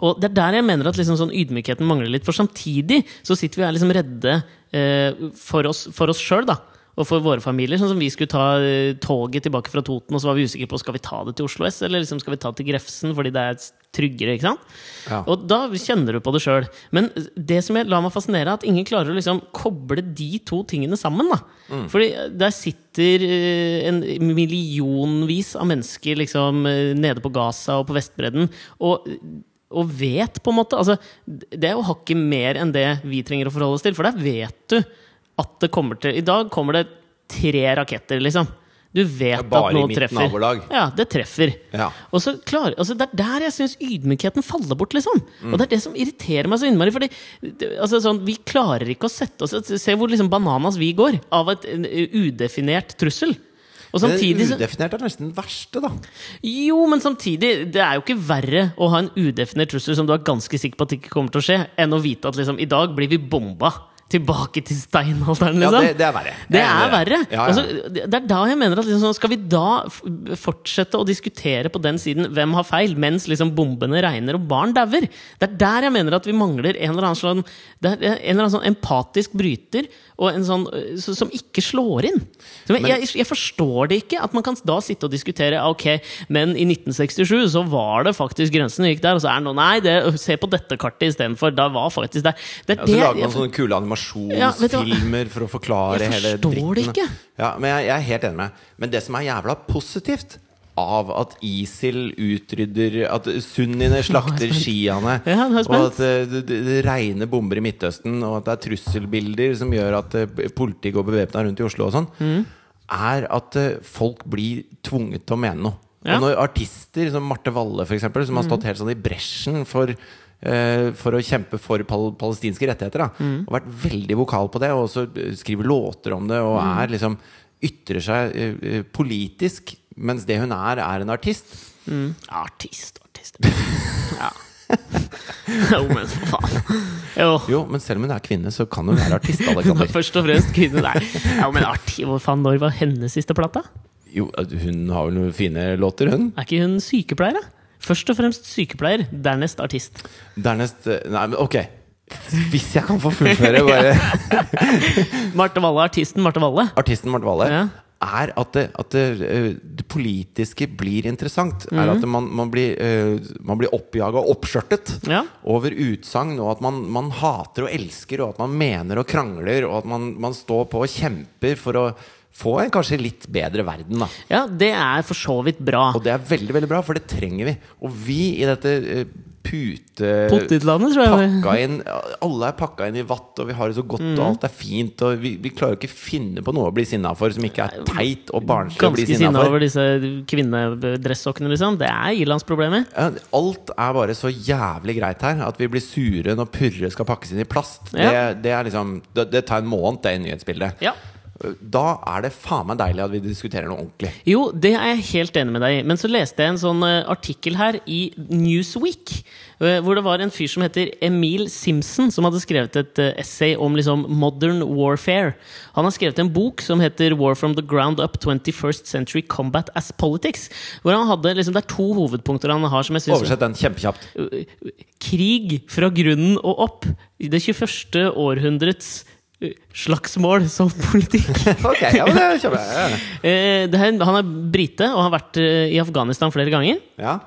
Speaker 2: Og det er der jeg mener at liksom sånn ydmykheten mangler litt. For samtidig så sitter vi og er liksom redde eh, for oss for oss sjøl, da. Og for våre familier. Sånn som vi skulle ta eh, toget tilbake fra Toten, og så var vi usikre på skal vi ta det til Oslo S, eller liksom skal vi ta det til Grefsen fordi det er tryggere. ikke sant?
Speaker 1: Ja.
Speaker 2: Og da kjenner du på det sjøl. Men det som jeg lar meg fascinere, er at ingen klarer å liksom koble de to tingene sammen. da.
Speaker 1: Mm.
Speaker 2: Fordi eh, der sitter eh, en millionvis av mennesker liksom eh, nede på Gaza og på Vestbredden og, og vet, på en måte altså, Det er jo hakket mer enn det vi trenger å forholde oss til, for der vet du at det kommer til I dag kommer det tre raketter, liksom. Du vet
Speaker 1: bare
Speaker 2: at
Speaker 1: i
Speaker 2: noe
Speaker 1: mitt
Speaker 2: treffer.
Speaker 1: nabolag.
Speaker 2: Ja, det treffer.
Speaker 1: Ja.
Speaker 2: Og så klar, altså Det er der jeg syns ydmykheten faller bort. liksom Og det er det som irriterer meg så innmari. Fordi det- altså, sånn, Vi klarer ikke å sette oss Se hvor liksom bananas vi går av et en, eh, udefinert trussel. Og
Speaker 1: Men
Speaker 2: samtidig så, Liksom.
Speaker 1: udefinert er nesten den verste, da.
Speaker 2: Jo, men samtidig Det er jo ikke verre å ha en udefinert trussel som du er ganske sikker på at ikke kommer til å skje, enn å vite at liksom i dag blir vi bomba tilbake til steinalderen.
Speaker 1: Ja,
Speaker 2: liksom
Speaker 1: det, det er verre.
Speaker 2: det
Speaker 1: Jeg er enig
Speaker 2: er
Speaker 1: i det.
Speaker 2: verre.
Speaker 1: Ja, ja.
Speaker 2: Altså, det det er da jeg mener at liksom, sånn, Skal vi da f fortsette å diskutere på den siden hvem har feil, mens liksom bombene regner og barn dauer? Det er der jeg mener at vi mangler en eller annen, sånn, det er en eller annen sånn empatisk bryter og en sånn, øh, så- som ikke slår inn. Så jeg, jeg, jeg forstår det ikke, at man kan da sitte og diskutere «Ah, Ok, men i 1967 så var det faktisk grensen gikk der, og så er det nå Nei, det, se på dette kartet istedenfor. Da var faktisk der. Det er
Speaker 1: Ja, så lager
Speaker 2: jeg-
Speaker 1: man sånne kule
Speaker 2: Ja, vet du hva?
Speaker 1: animasjonsfilmer for å forklare
Speaker 2: Jeg
Speaker 1: hele
Speaker 2: forstår det
Speaker 1: dritten.
Speaker 2: ikke.
Speaker 1: Ja, men jeg, jeg er helt enig med deg. Men det som er jævla positivt, av at ISIL utrydder At sunniene slakter shiaene.
Speaker 2: Ja, nå er jeg
Speaker 1: og at
Speaker 2: spent.
Speaker 1: eh, det, det det regner bomber i Midtøsten, og at det er trusselbilder som gjør at eh, politiet går bevæpna rundt i Oslo og sånn. Er at eh, folk blir tvunget til å mene noe.
Speaker 2: Ja.
Speaker 1: Og når artister som Marte Walle, for eksempel, som har stått helt sånn i bresjen for eh, for å kjempe for pal palestinske rettigheter. Da. Og vært veldig vokal på det, og også eh, skriver låter om det. Og er liksom ytrer seg eh, eh, politisk, mens det hun er, er en artist.
Speaker 2: Artist, artist. Ja. jo, men for faen. Jo.
Speaker 1: Jo, men selv om hun er kvinne, så kan hun være artist.
Speaker 2: Hun er
Speaker 1: Alexander.
Speaker 2: først og fremst kvinne der. Jo, men artig. Hvor faen, når var hennes siste plate?
Speaker 1: Jo, hun har vel noen fine låter, hun.
Speaker 2: Er ikke hun sykepleier, da? Først og fremst sykepleier, dernest artist.
Speaker 1: Dernest eh, Nei, men ok. Hvis jeg kan få fullføre bare
Speaker 2: Marte Walle, artisten Marte Walle.
Speaker 1: artisten Marte Valle,
Speaker 2: Ja.
Speaker 1: er at, det, at det, eh, det politiske blir interessant.
Speaker 2: Mhm.
Speaker 1: Er at man, man blir, eh, man blir oppjaga og oppskjørtet
Speaker 2: Ja.
Speaker 1: over utsagn, og at man, man hater og elsker, og at man mener og krangler, og at man, man står på og kjemper for å få en kanskje litt bedre verden, da.
Speaker 2: Ja, det er for så vidt bra.
Speaker 1: Og det er veldig, veldig bra, for det trenger vi. Og vi i dette eh, pute...
Speaker 2: Potetlandet, tror jeg.
Speaker 1: Pakka inn, alle er pakka inn i vatt, og vi har det så godt, og alt er fint. Og vi, vi klarer jo ikke finne på noe å bli sinna for som ikke er teit og barnslig å bli
Speaker 2: Ganske
Speaker 1: sinna
Speaker 2: sinna
Speaker 1: for.
Speaker 2: over disse kvinnedressokkene, liksom. Det er ilandsproblemer.
Speaker 1: Ja, Alt er bare så jævlig greit her. At vi blir sure når purre skal pakkes inn i plast.
Speaker 2: Ja.
Speaker 1: Det, det, er liksom, det, det tar en måned, det, i nyhetsbildet.
Speaker 2: Ja.
Speaker 1: Da er det faen meg deilig at vi diskuterer noe ordentlig.
Speaker 2: Jo, det er jeg helt enig med deg i. Men så leste jeg en sånn eh, artikkel her i Newsweek, eh, hvor det var en fyr som heter Emil Simpson, som hadde skrevet et eh, essay om liksom modern warfare. Han har skrevet en bok som heter 'War from the ground up 21st century combat as politics'. Hvor han hadde, liksom, det er to hovedpunkter han har som jeg synes
Speaker 1: Oversett den kjempekjapt.
Speaker 2: krig fra grunnen og opp. I det 21. århundrets eh, slagsmål som politikk.
Speaker 1: Ok, ja, men det kjøper jeg.
Speaker 2: Eh, det her, han er brite og har vært eh, i Afghanistan flere ganger.
Speaker 1: Ja.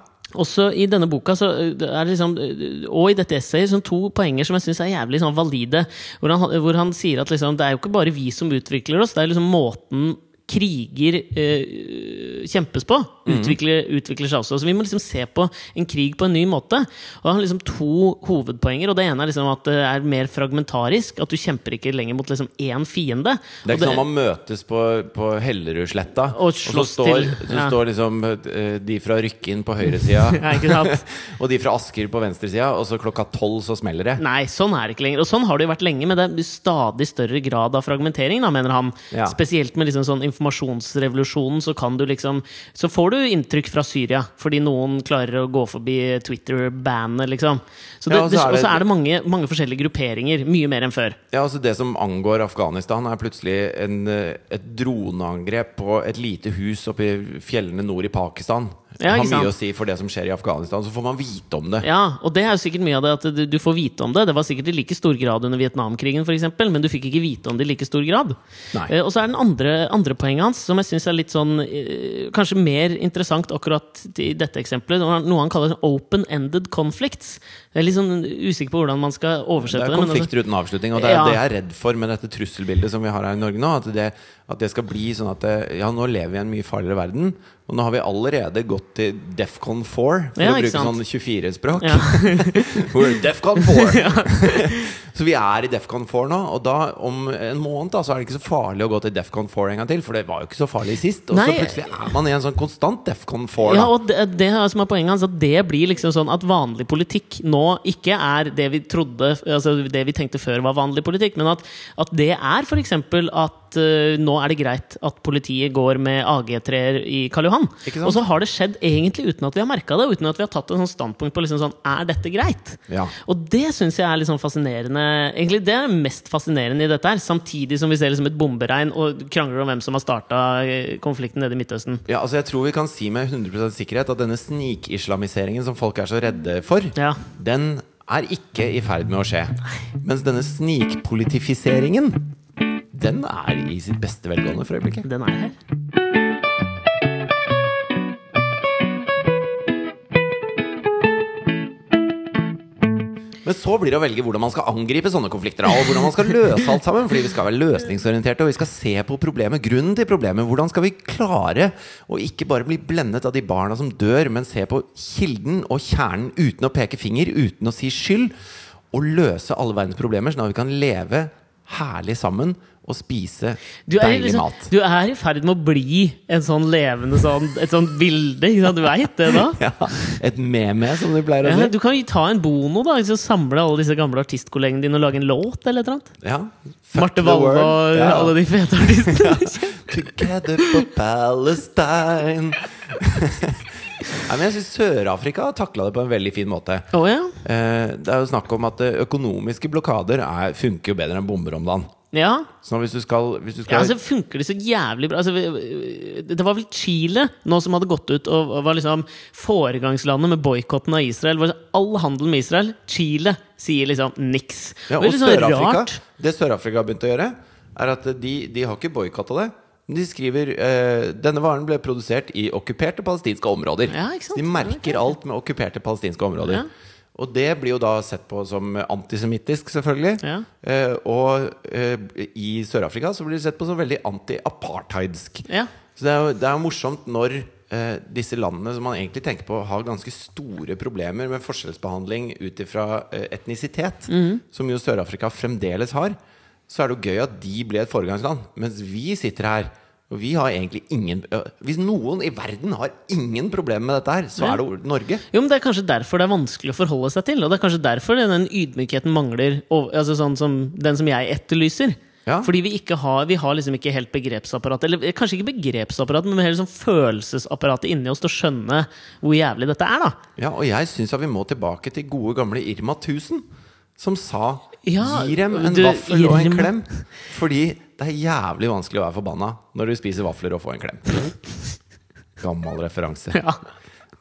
Speaker 2: Også i denne boka, så eh, det er liksom, eh, og i dette essayet, sånn to poenger som jeg syns er jævlig sånn valide. Hvor han, hvor han sier at liksom, det er jo ikke bare vi som utvikler oss, det er liksom måten kriger eh, kjempes på,
Speaker 1: Mhm.
Speaker 2: utvikler, utvikler seg også. Så vi må liksom se på en krig på en ny måte. Og han har liksom to hovedpoenger, og det ene er liksom at det er mer fragmentarisk. At du kjemper ikke lenger mot liksom én fiende.
Speaker 1: Det er
Speaker 2: Og
Speaker 1: ikke sånn man møtes på, på Hellerudsletta,
Speaker 2: Og
Speaker 1: så
Speaker 2: slåss
Speaker 1: står,
Speaker 2: til.
Speaker 1: så
Speaker 2: Ja.
Speaker 1: står liksom eh, de fra Rykkinn på høyresida
Speaker 2: Ja, ikke sant?
Speaker 1: og de fra Asker på venstresida, og så klokka tolv så smeller det.
Speaker 2: Nei, sånn er det ikke lenger. Og sånn har det jo vært lenge, men det er stadig større grad av fragmentering, da, mener han.
Speaker 1: Ja.
Speaker 2: Spesielt med liksom sånn informasjonsrevolusjonen, så kan du liksom Så får du inntrykk fra Syria, fordi noen klarer å gå forbi Twitter-bandet, liksom. Så det,
Speaker 1: Ja, og så
Speaker 2: det,
Speaker 1: er
Speaker 2: og
Speaker 1: det-
Speaker 2: så er det mange, mange forskjellige grupperinger. Mye mer enn før.
Speaker 1: Ja, altså Det som angår Afghanistan, er plutselig en, eh, et droneangrep på et lite hus oppe i fjellene nord i Pakistan. Det
Speaker 2: Ja,
Speaker 1: har
Speaker 2: ikke sant?
Speaker 1: mye å si for det som skjer i Afghanistan. Så får man vite om det.
Speaker 2: Ja, og det er jo sikkert mye av det at du, du får vite om det. Det var sikkert i like stor grad under Vietnamkrigen, for eksempel, men du fikk ikke vite om det i like stor grad.
Speaker 1: Nei.
Speaker 2: Eh, og så er den andre, andre poenget hans, som jeg syns er litt sånn eh, Kanskje mer interessant akkurat i dette eksempelet, noe han- noe han kaller sånn open-ended conflicts. Jeg er litt sånn usikker på hvordan man skal
Speaker 1: Det
Speaker 2: oversette
Speaker 1: er
Speaker 2: det. men altså-
Speaker 1: konflikter uten avslutning, og det er
Speaker 2: Ja.
Speaker 1: det jeg er redd for med dette trusselbildet som vi har her i Norge nå. At det, at det skal bli sånn at det, ja, nå lever vi i en mye farligere verden, og nå har vi allerede gått til Defcon 4, for
Speaker 2: Ja,
Speaker 1: å bruke
Speaker 2: ikke sant?
Speaker 1: sånn 24-språk.
Speaker 2: Ja.
Speaker 1: We're Defcon 4! Så vi er i Defcon 4 nå, og da om en måned da, så er det ikke så farlig å gå til Defcon 4 en gang til, for det var jo ikke så farlig sist. Og
Speaker 2: Nei.
Speaker 1: så plutselig er man i en sånn konstant Defcon 4.
Speaker 2: Ja,
Speaker 1: Da.
Speaker 2: og det, det er som er poenget hans, at det blir liksom sånn at vanlig politikk nå ikke er det vi trodde Altså det vi tenkte før var vanlig politikk, men at, at det er f.eks. at eh, nå er det greit at politiet går med AG-treer i Karl Johan.
Speaker 1: Ikke sant?
Speaker 2: Og så har det skjedd egentlig uten at vi har merka det, og uten at vi har tatt en sånn standpunkt på liksom sånn Er dette greit?
Speaker 1: Ja.
Speaker 2: Og det syns jeg er litt sånn fascinerende Egentlig det er mest fascinerende i dette her, samtidig som vi ser liksom et bomberegn og krangler om hvem som har starta konflikten nede i Midtøsten.
Speaker 1: Ja, altså jeg tror vi kan si med 100 sikkerhet at denne snikislamiseringen som folk er så redde for,
Speaker 2: Ja.
Speaker 1: den er ikke i ferd med å skje. Mens denne snikpolitifiseringen, den er i sitt beste velgående for øyeblikket.
Speaker 2: Den er her.
Speaker 1: Men Men så blir det å velge hvordan man skal angripe sånne konflikter. da, Og hvordan man skal løse alt sammen Fordi vi skal være løsningsorienterte, og vi skal se på problemet. Grunnen til problemet. Hvordan skal vi klare å ikke bare bli blendet av de barna som dør, men se på kilden og kjernen uten å peke finger, uten å si skyld? Og løse alle verdens problemer, sånn at vi kan leve herlig sammen og spise
Speaker 2: Du er,
Speaker 1: deilig
Speaker 2: liksom,
Speaker 1: mat.
Speaker 2: du er i ferd med å bli en sånn levende sånn, et sånt bilde. Ikke sant? Du veit det, da?
Speaker 1: Ja, et meme, som du pleier å
Speaker 2: Ja,
Speaker 1: si.
Speaker 2: du kan jo ta en bono, da. Liksom samle alle disse gamle artistkollegene dine og lage en låt eller et eller annet.
Speaker 1: Ja.
Speaker 2: Marte Valle og alle de fete artistene.
Speaker 1: Together for Palestine Nei, men jeg synes Sør-Afrika har taklet det på en veldig fin måte
Speaker 2: Å ja.
Speaker 1: Eh, Det er jo snakk om at eh, økonomiske blokader er, funker jo bedre enn bomber om dagen
Speaker 2: ja.
Speaker 1: Så hvis du skal, hvis du
Speaker 2: Ja,
Speaker 1: skal
Speaker 2: altså funker det så jævlig bra altså, vi- Det var vel Chile nå som hadde gått ut og og var liksom foregangslandet med boikotten av Israel. Var liksom All handel med Israel. Chile sier liksom niks.
Speaker 1: Ja,
Speaker 2: Det er
Speaker 1: og
Speaker 2: litt sånn
Speaker 1: Sør-Afrika
Speaker 2: rart.
Speaker 1: Det Sør-Afrika har begynt å gjøre Er at de, de har ikke boykottet det men de skriver eh, Denne varen ble produsert i okkuperte palestinske områder
Speaker 2: Ja, ikke sant?
Speaker 1: De merker alt med okkuperte palestinske områder
Speaker 2: Ja.
Speaker 1: Og det blir jo da sett på som antisemittisk selvfølgelig
Speaker 2: Ja.
Speaker 1: Eh, Og eh, i Sør-Afrika så blir det sett på som veldig anti-apartheidsk
Speaker 2: Ja.
Speaker 1: så det er jo, det er jo morsomt når eh, disse landene som man egentlig tenker på har ganske store problemer med forskjellsbehandling ut ifra eh, etnisitet, som jo Sør-Afrika fremdeles har, så er det jo gøy at de ble et foregangsland. Mens vi sitter her, og vi har egentlig ingen ja, Hvis noen i verden har ingen problemer med dette her, så er det jo Norge.
Speaker 2: Jo, men Det er kanskje derfor det er vanskelig å forholde seg til. Og det er kanskje derfor den- den ydmykheten mangler, og, altså sånn som den som jeg etterlyser.
Speaker 1: Ja.
Speaker 2: Fordi vi ikke har Vi har liksom ikke helt begrepsapparatet Eller kanskje ikke begrepsapparatet, men heller sånn følelsesapparatet inni oss til å skjønne hvor jævlig dette er, da.
Speaker 1: Ja, og jeg syns at vi må tilbake til gode gamle Irma 1000, som sa
Speaker 2: Ja,
Speaker 1: Gi dem en
Speaker 2: du,
Speaker 1: vaffel og en
Speaker 2: Irma.
Speaker 1: klem. Fordi det er jævlig vanskelig å være forbanna når du spiser vafler og får en klem. Gammel referanse.
Speaker 2: Ja.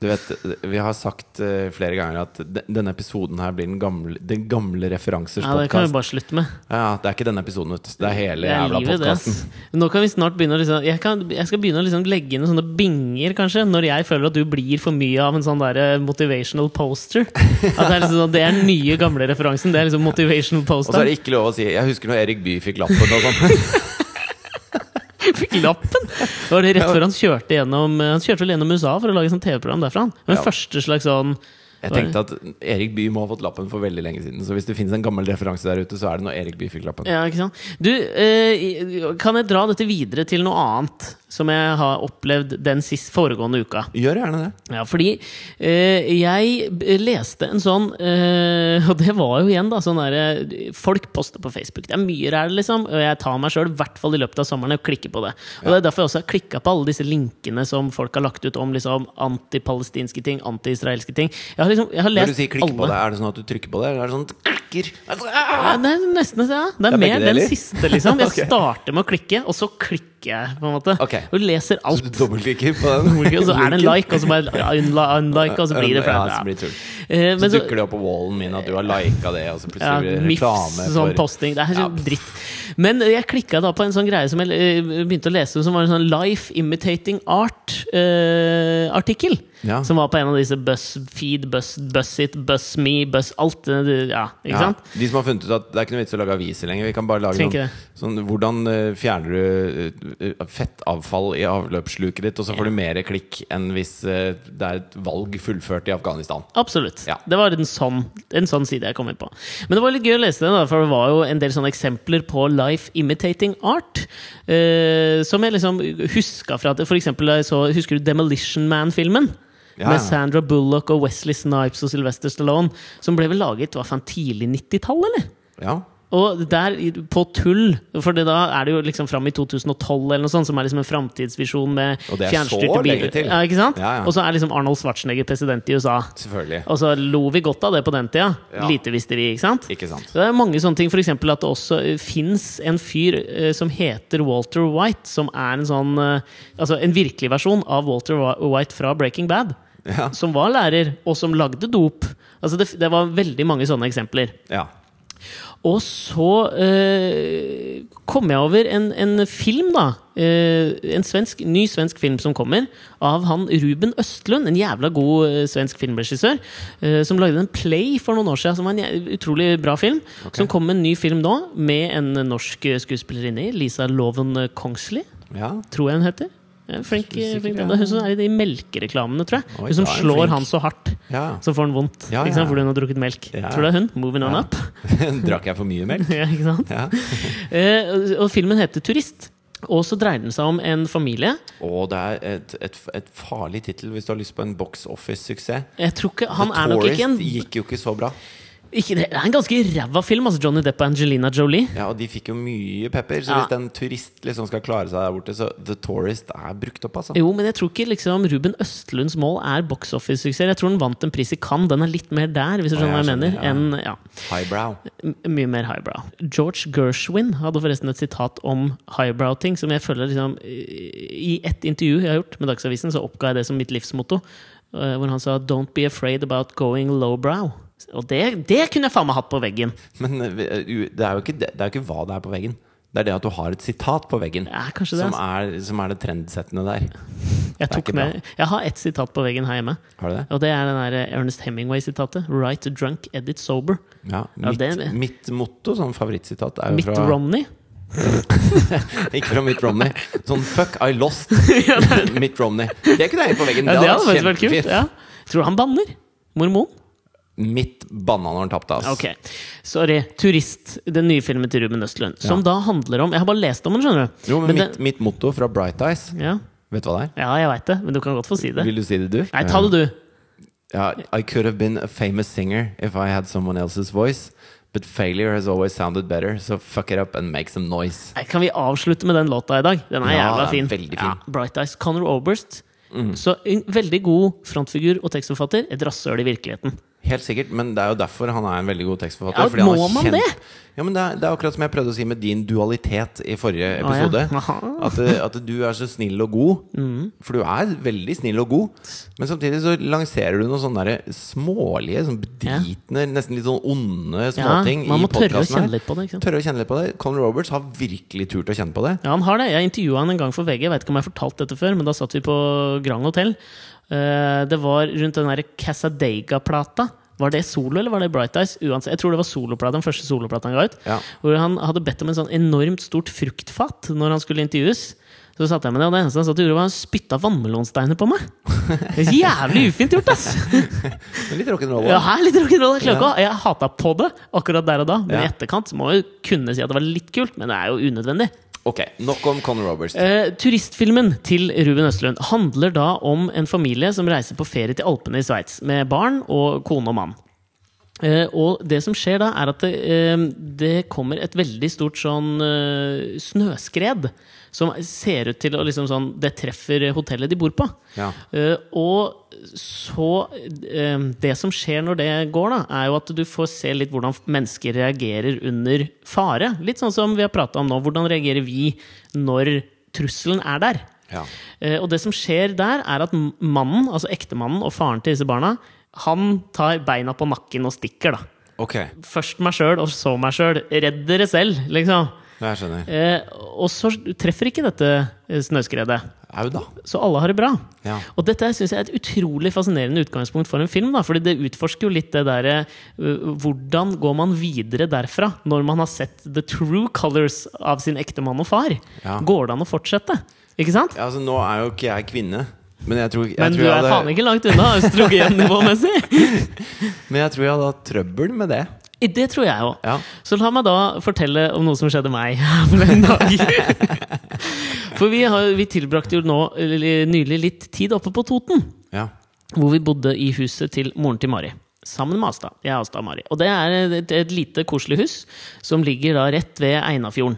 Speaker 1: Du vet, Vi har sagt eh, flere ganger at de- denne episoden her blir den gamle, den gamle referansers
Speaker 2: ja, det kan vi
Speaker 1: podkast.
Speaker 2: bare slutte med.
Speaker 1: Ja, det er ikke denne episoden, vet du. Det er hele
Speaker 2: Det er
Speaker 1: jævla
Speaker 2: livet, det,
Speaker 1: podkasten.
Speaker 2: ass. Nå kan vi snart begynne å liksom, jeg, kan, jeg skal begynne å liksom legge inn noen sånne binger, kanskje, når jeg føler at du blir for mye av en sånn der eh, motivational poster. At det er liksom sånn, det er den nye, gamle referansen. Det er liksom motivational
Speaker 1: Og så er
Speaker 2: poster.
Speaker 1: det ikke lov å si 'Jeg husker når Erik Bye fikk lappen' og sånn.
Speaker 2: Fikk lappen! Det var det rett før han kjørte gjennom eh, Han kjørte vel gjennom USA for å lage sånn TV-program derfra. han. Men
Speaker 1: Ja.
Speaker 2: første slags sånn
Speaker 1: Jeg tenkte at Erik Bye må ha fått lappen for veldig lenge siden. Så hvis det finnes en gammel referanse der ute, så er det når Erik Bye fikk lappen.
Speaker 2: Ja, ikke sant. Du, eh, kan jeg dra dette videre til noe annet som jeg har opplevd den sist foregående uka?
Speaker 1: Gjør gjerne det.
Speaker 2: Ja, fordi eh, jeg b- leste en sånn eh, Og det var jo igjen, da. Sånn der, eh, folk poster på Facebook. Det er mye ræl, liksom. Og jeg tar meg sjøl, i hvert fall i løpet av sommeren, og klikker på det. Og det er derfor jeg også har klikka på alle disse linkene som folk har lagt ut om liksom, antipalestinske ting, antiisraelske ting. Jeg har, liksom, jeg har
Speaker 1: Når du
Speaker 2: lest
Speaker 1: sier klikk
Speaker 2: alle.
Speaker 1: på det, er det sånn at du trykker på det? Eller er det sånn at det klikker? Altså,
Speaker 2: Ja, det er nesten ja. Det er,
Speaker 1: Det er begge
Speaker 2: mer den
Speaker 1: deler.
Speaker 2: siste, liksom. Jeg
Speaker 1: Ok.
Speaker 2: starter med å klikke, og så klikker jeg, på en måte.
Speaker 1: Ok.
Speaker 2: Og leser alt.
Speaker 1: Du dobbeltklikker på den.
Speaker 2: Og så er det en like, og så bare ja, unla- unlike, og så blir
Speaker 1: Ja,
Speaker 2: det flere.
Speaker 1: så blir det tull.
Speaker 2: Eh,
Speaker 1: Så
Speaker 2: men så-
Speaker 1: dukker det opp på wallen min at du har lika det, og så
Speaker 2: ja,
Speaker 1: plutselig blir det
Speaker 2: MIFs
Speaker 1: reklame
Speaker 2: sånn
Speaker 1: for
Speaker 2: posting. Det er
Speaker 1: Ja.
Speaker 2: sånn dritt. Men jeg klikka da på en sånn greie som jeg eh, begynte å lese, som var en sånn Life Imitating Art-artikkel.
Speaker 1: Ja.
Speaker 2: Som var på en av disse BuzzFeed, Buzz, BuzzIt, BuzzMe, Buzz alt eh, det- Ja, ikke
Speaker 1: Ja,
Speaker 2: sant?
Speaker 1: De som har funnet ut at det er ikke noe vits i å lage aviser lenger. Vi kan bare lage
Speaker 2: Tenker
Speaker 1: sånn, sånn Hvordan eh, fjerner du eh, fettavfall i avløpssluket ditt, og så får du mer klikk enn hvis eh, det er et valg fullført i Afghanistan?
Speaker 2: Absolutt.
Speaker 1: Ja.
Speaker 2: Det var en sånn, en sånn side jeg kom inn på. Men det var litt gøy å lese den, da, for det var jo en del sånne eksempler på life imitating art. eh, som jeg liksom huska fra at For eksempel da jeg så, husker du Demolition Man-filmen?
Speaker 1: Ja, ja.
Speaker 2: Med Sandra Bullock og Wesley Snipes og Sylvester Stallone. Som ble vel laget hva faen, tidlig 90-tall, eller?
Speaker 1: Ja.
Speaker 2: Og der, i- på tull, for det da er det jo liksom fram i 2012 eller noe sånt, som er liksom en framtidsvisjon med
Speaker 1: Og det er så lenge
Speaker 2: fjernstyrte biler.
Speaker 1: til.
Speaker 2: Ja, ikke sant?
Speaker 1: Ja, ja.
Speaker 2: Og så er liksom Arnold Schwarzenegger president i USA.
Speaker 1: Selvfølgelig.
Speaker 2: Og så lo vi godt av det på den tida.
Speaker 1: Ja.
Speaker 2: Lite visste vi, ikke sant?
Speaker 1: Ikke sant.
Speaker 2: Så Det er mange sånne ting, f.eks. at det også fins en fyr eh, som heter Walter White, som er en sånn eh, Altså en virkelig versjon av Walter Wa- White fra Breaking Bad.
Speaker 1: Ja.
Speaker 2: Som var lærer, og som lagde dop. Altså det, f- det var veldig mange sånne eksempler.
Speaker 1: ja.
Speaker 2: Og så eh, kom jeg over en, en film, da. Eh, en svensk, ny svensk film som kommer, av han Ruben Østlund. En jævla god eh, svensk filmregissør. eh, som lagde en play for noen år siden, som var en jæ- utrolig bra film. Som kom med en ny film nå, med en norsk eh, skuespillerinne i. Lisa Loven eh, Kongsli,
Speaker 1: Ja.
Speaker 2: tror jeg hun heter. Eh, Flink, eh,
Speaker 1: Sikkert,
Speaker 2: flink
Speaker 1: ja.
Speaker 2: dame. Hun som er i de melkereklamene, tror jeg.
Speaker 1: Oi,
Speaker 2: Hun som
Speaker 1: da er hun
Speaker 2: slår
Speaker 1: flink.
Speaker 2: han så hardt,
Speaker 1: ja.
Speaker 2: så får han vondt.
Speaker 1: Ja,
Speaker 2: Ikke sant?
Speaker 1: ja.
Speaker 2: Fordi hun har drukket melk.
Speaker 1: Ja.
Speaker 2: Tror det er hun. Moving on
Speaker 1: Ja.
Speaker 2: up.
Speaker 1: Drakk jeg for mye melk?
Speaker 2: Ja, ikke sant?
Speaker 1: Ja.
Speaker 2: Eh, og- og filmen heter Turist. Og så dreier den seg om en familie.
Speaker 1: Og det er et, et, et farlig tittel hvis du har lyst på en box office-suksess.
Speaker 2: Jeg tror ikke, han
Speaker 1: The
Speaker 2: er nok ikke en
Speaker 1: Tourist gikk jo ikke så bra.
Speaker 2: ikke, Det er en ganske ræva film, altså Johnny Depp og Angelina Jolie.
Speaker 1: Ja, Og de fikk jo mye pepper, så
Speaker 2: Ja.
Speaker 1: hvis en turist liksom skal klare seg der borte, så The Tourist er brukt opp, altså.
Speaker 2: Jo, men jeg tror ikke liksom Ruben Østlunds mål er box office-suksess. Jeg tror den vant en pris i Cannes. Den er litt mer der, hvis du
Speaker 1: Å,
Speaker 2: skjønner hva
Speaker 1: jeg
Speaker 2: jeg mener.
Speaker 1: skjønner,
Speaker 2: Enn, ja.
Speaker 1: Highbrow.
Speaker 2: M- Mye mer highbrow. George Gershwin hadde forresten et sitat om highbrow-ting som jeg føler liksom I et intervju jeg har gjort med Dagsavisen, så oppga jeg det som mitt livsmotto. eh, Hvor han sa 'Don't be afraid about going lowbrow'. Og det, det kunne jeg faen meg hatt på veggen!
Speaker 1: Men eh, u- det er, jo ikke, det, det er jo ikke hva det er på veggen. Det er det at du har et sitat på veggen
Speaker 2: Ja, kanskje det.
Speaker 1: som
Speaker 2: altså.
Speaker 1: er, som er det trendsettende der.
Speaker 2: Jeg,
Speaker 1: er
Speaker 2: tok
Speaker 1: ikke
Speaker 2: med, jeg har ett sitat på veggen her hjemme.
Speaker 1: Har du det?
Speaker 2: Og det er den der eh, Ernest Hemingway-sitatet. 'Right drunk, edit sober'.
Speaker 1: Ja.
Speaker 2: Ja,
Speaker 1: Mitt,
Speaker 2: det-
Speaker 1: mitt motto, sånn favorittsitat, er jo
Speaker 2: Mitt
Speaker 1: fra
Speaker 2: Romney.
Speaker 1: Ikke fra Mitt Romney. Sånn 'fuck, I lost'. Mitt Romney. Det er ikke det på veggen.
Speaker 2: Ja, det hadde
Speaker 1: hadde
Speaker 2: faktisk vært kult.
Speaker 1: kjempefint.
Speaker 2: Ja. Tror du han banner? Mormon?
Speaker 1: Mitt banna når han tapte, ass.
Speaker 2: Ok, sorry. 'Turist', den nye filmen til Ruben Østlund. Som da handler om Jeg har bare lest om den, skjønner du.
Speaker 1: Jo, men,
Speaker 2: Men
Speaker 1: mitt, mitt motto fra Bright Eyes
Speaker 2: Ja,
Speaker 1: Vet du hva det er?
Speaker 2: ja jeg veit det, men du kan godt få si det.
Speaker 1: Vil du si det, du?
Speaker 2: Nei, ta det, du.
Speaker 1: Ja, I could have been a famous singer if I had someone else's voice, but failure has always sounded better, so fuck it up and make some noise.
Speaker 2: Nei, Kan vi avslutte med den låta i dag? Den er
Speaker 1: Ja,
Speaker 2: jævla
Speaker 1: den
Speaker 2: fin.
Speaker 1: er veldig fin. Mm.
Speaker 2: Ja, Bright Eyes. Conor Oberst. Så en veldig god frontfigur og tekstforfatter. Et rasshøl i virkeligheten.
Speaker 1: Helt sikkert, men det er jo derfor han er en veldig god tekstforfatter.
Speaker 2: Ja,
Speaker 1: fordi han har
Speaker 2: må man det?
Speaker 1: Ja, men det er, det er akkurat som jeg prøvde å si med din dualitet i forrige
Speaker 2: Å, ja.
Speaker 1: episode.
Speaker 2: Aha.
Speaker 1: At, eh, at du er så snill og god.
Speaker 2: Mm.
Speaker 1: For du er veldig snill og god. Men samtidig så lanserer du noen sånne der smålige, sånn bedritne, nesten litt sånn onde
Speaker 2: Ja,
Speaker 1: småting i
Speaker 2: man må tørre å
Speaker 1: podcasten her.
Speaker 2: kjenne litt på det. ikke sant?
Speaker 1: Tørre å kjenne litt på det. Colin Roberts har virkelig turt å kjenne på det.
Speaker 2: Ja, han har det. Jeg intervjua han en gang for VG. Jeg vet ikke om jeg har fortalt dette før, men da satt vi på Grand Hotel. Eh, Det var rundt den derre Casadega-plata. Var det solo, eller var det Bright Eyes? Uansett, jeg tror det var soloplata, den første soloplata han ga ut.
Speaker 1: Ja.
Speaker 2: Hvor han hadde bedt om en sånn enormt stort fruktfat når han skulle intervjues. Så satt jeg med det, og det eneste han satt og gjorde, var han spytta vannmelonsteiner på meg! Det er Jævlig ufint gjort, ass!
Speaker 1: Men Litt rock'n'roll.
Speaker 2: Ja,
Speaker 1: da.
Speaker 2: her, litt rock'n'roll. Jeg, klarer ikke å- jeg hata på det akkurat der og da, men
Speaker 1: Ja.
Speaker 2: i etterkant må jeg jo kunne si at det var litt kult, men det er jo unødvendig.
Speaker 1: Ok, nok om Colin Roberts.
Speaker 2: Eh, turistfilmen til Ruben Østlund handler da om en familie som reiser på ferie til Alpene i Sveits med barn og kone og mann. Eh, og det som skjer da, er at det, eh, det kommer et veldig stort sånn eh, snøskred. Som ser ut til å liksom sånn Det treffer hotellet de bor på.
Speaker 1: Ja.
Speaker 2: Eh, og så eh, Det som skjer når det går, da, er jo at du får se litt hvordan mennesker reagerer under fare. Litt sånn som vi har prata om nå. Hvordan reagerer vi når trusselen er der?
Speaker 1: Ja.
Speaker 2: Eh, Og det som skjer der, er at m- mannen, altså ektemannen og faren til disse barna, han tar beina på nakken og stikker, da.
Speaker 1: Ok,
Speaker 2: Først meg sjøl, og så meg sjøl. Redd dere selv, liksom.
Speaker 1: jeg skjønner.
Speaker 2: Eh, og så treffer ikke dette eh, snøskredet.
Speaker 1: Au, da.
Speaker 2: Så alle har det bra.
Speaker 1: Ja.
Speaker 2: Og dette syns jeg er et utrolig fascinerende utgangspunkt for en film. Da, fordi det utforsker jo litt det derre øh, Hvordan går man videre derfra når man har sett the true colors av sin ektemann og far?
Speaker 1: Ja.
Speaker 2: Går det an å fortsette? Ikke sant?
Speaker 1: Ja, Altså, nå er jo ikke jeg kvinne, men jeg tror, jeg tror
Speaker 2: Men du
Speaker 1: jeg
Speaker 2: er
Speaker 1: hadde,
Speaker 2: faen ikke langt unna østrogennivåmessig!
Speaker 1: Men jeg tror jeg hadde hatt trøbbel med det.
Speaker 2: Det tror jeg òg.
Speaker 1: Ja.
Speaker 2: Så la meg da fortelle om noe som skjedde meg for en dag. For vi, har, vi tilbrakte jo nå eller nylig litt tid oppe på Toten.
Speaker 1: Ja.
Speaker 2: hvor vi bodde i huset til moren til Mari. Sammen med Asta. Jeg er Asta og Mari. Og det er et, et lite, koselig hus som ligger da rett ved Einafjorden.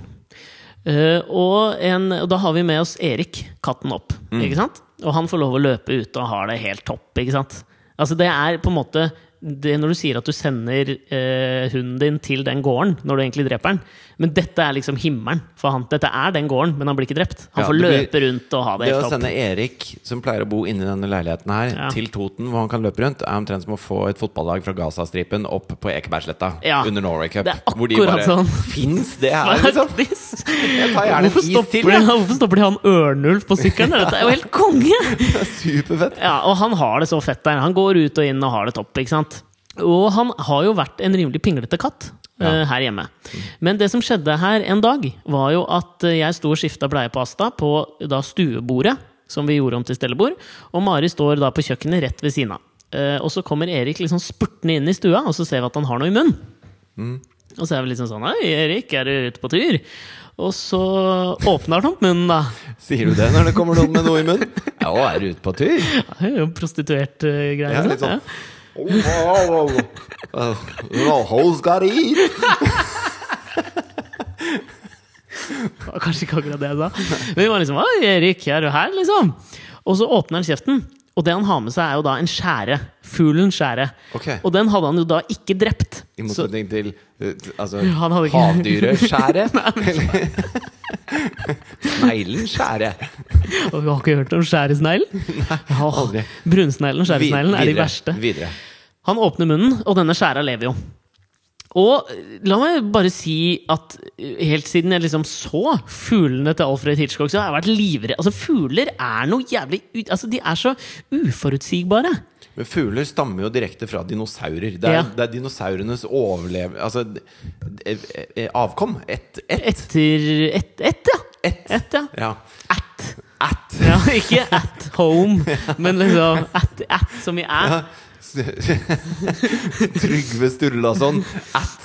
Speaker 2: Eh, og, en, og da har vi med oss Erik, katten opp.
Speaker 1: Mm.
Speaker 2: Ikke sant? Og han får lov å løpe ute og har det helt topp. Ikke sant? Altså det er på en måte det når du sier at du sender eh, hunden din til den gården når du egentlig dreper den Men dette er liksom himmelen for han. Dette er den gården, men han blir ikke drept. Han
Speaker 1: Ja,
Speaker 2: får
Speaker 1: det blir-
Speaker 2: løpe rundt og ha det
Speaker 1: Det å
Speaker 2: helt opp.
Speaker 1: sende Erik, som pleier å bo inni denne leiligheten her,
Speaker 2: Ja.
Speaker 1: til Toten, hvor han kan løpe rundt, er omtrent som å få et fotballag fra Gazastripen opp på Ekebergsletta
Speaker 2: Ja.
Speaker 1: under Norway Cup.
Speaker 2: Det er akkurat sånn.
Speaker 1: Fins det her, liksom?
Speaker 2: Faktisk.
Speaker 1: Jeg tar gjerne en
Speaker 2: Hvorfor
Speaker 1: is til,
Speaker 2: stopper, de,
Speaker 1: jeg.
Speaker 2: hvorfor stopper de han Ørnulf på sykkelen? Dette er jo helt konge!
Speaker 1: Det er Superfett.
Speaker 2: Ja, og han har det så fett der. Han går ut og inn og har det topp. ikke sant? Og han har jo vært en rimelig pinglete katt eh, her hjemme. Men det som skjedde her en dag, var jo at eh, jeg sto og skifta bleie på Asta på da stuebordet, som vi gjorde om til stellebord, og Mari står da på kjøkkenet rett ved siden av. Eh, og så kommer Erik liksom spurtende inn i stua, og så ser vi at han har noe i munnen.
Speaker 1: Mm.
Speaker 2: Og så er vi liksom sånn Hei, Erik, er du ute på tur? Og så åpner han opp munnen, da.
Speaker 1: Sier du det når det kommer noen med noe i munnen? Ja, å, er du ute på tur?
Speaker 2: Ja, det er jo prostituert eh, greie.
Speaker 1: Ja,
Speaker 2: sånn,
Speaker 1: litt sånn. Oh, oh, oh, oh. Oh, hoes gotta eat.
Speaker 2: Det var kanskje ikke akkurat det jeg sa. Men vi var liksom Oi, Erik, er du her, liksom? Og så åpner han kjeften, og det han har med seg, er jo da en skjære. Fuglen skjære.
Speaker 1: Ok.
Speaker 2: Og den hadde han jo da ikke drept.
Speaker 1: I
Speaker 2: Så,
Speaker 1: motsetning til eh, t- altså,
Speaker 2: Han hadde ikke-
Speaker 1: havdyret skjære. Sneglen skjære.
Speaker 2: og vi har ikke hørt om skjæresneglen? Åh,
Speaker 1: aldri.
Speaker 2: Brunsneglen,
Speaker 1: Vi-
Speaker 2: skjæresneglen er de
Speaker 1: videre,
Speaker 2: verste.
Speaker 1: Videre.
Speaker 2: Han åpner munnen, og denne skjæra lever jo. Og eh, la meg bare si at eh, helt siden jeg liksom så fuglene til Alfred Hitchcock, så har jeg vært livredd. Altså, fugler er noe jævlig ut... Altså, de er så uforutsigbare.
Speaker 1: Men fugler stammer jo direkte fra dinosaurer. Det er,
Speaker 2: Ja.
Speaker 1: det er dinosaurenes overleve... Altså d- eh, eh, avkom. Ett. Et,
Speaker 2: Etter Ett, et, ja.
Speaker 1: Et.
Speaker 2: Et, ja.
Speaker 1: ja.
Speaker 2: At.
Speaker 1: At.
Speaker 2: Ja, ikke at home, men liksom at, at som i æ.
Speaker 1: Trygve Sturlason at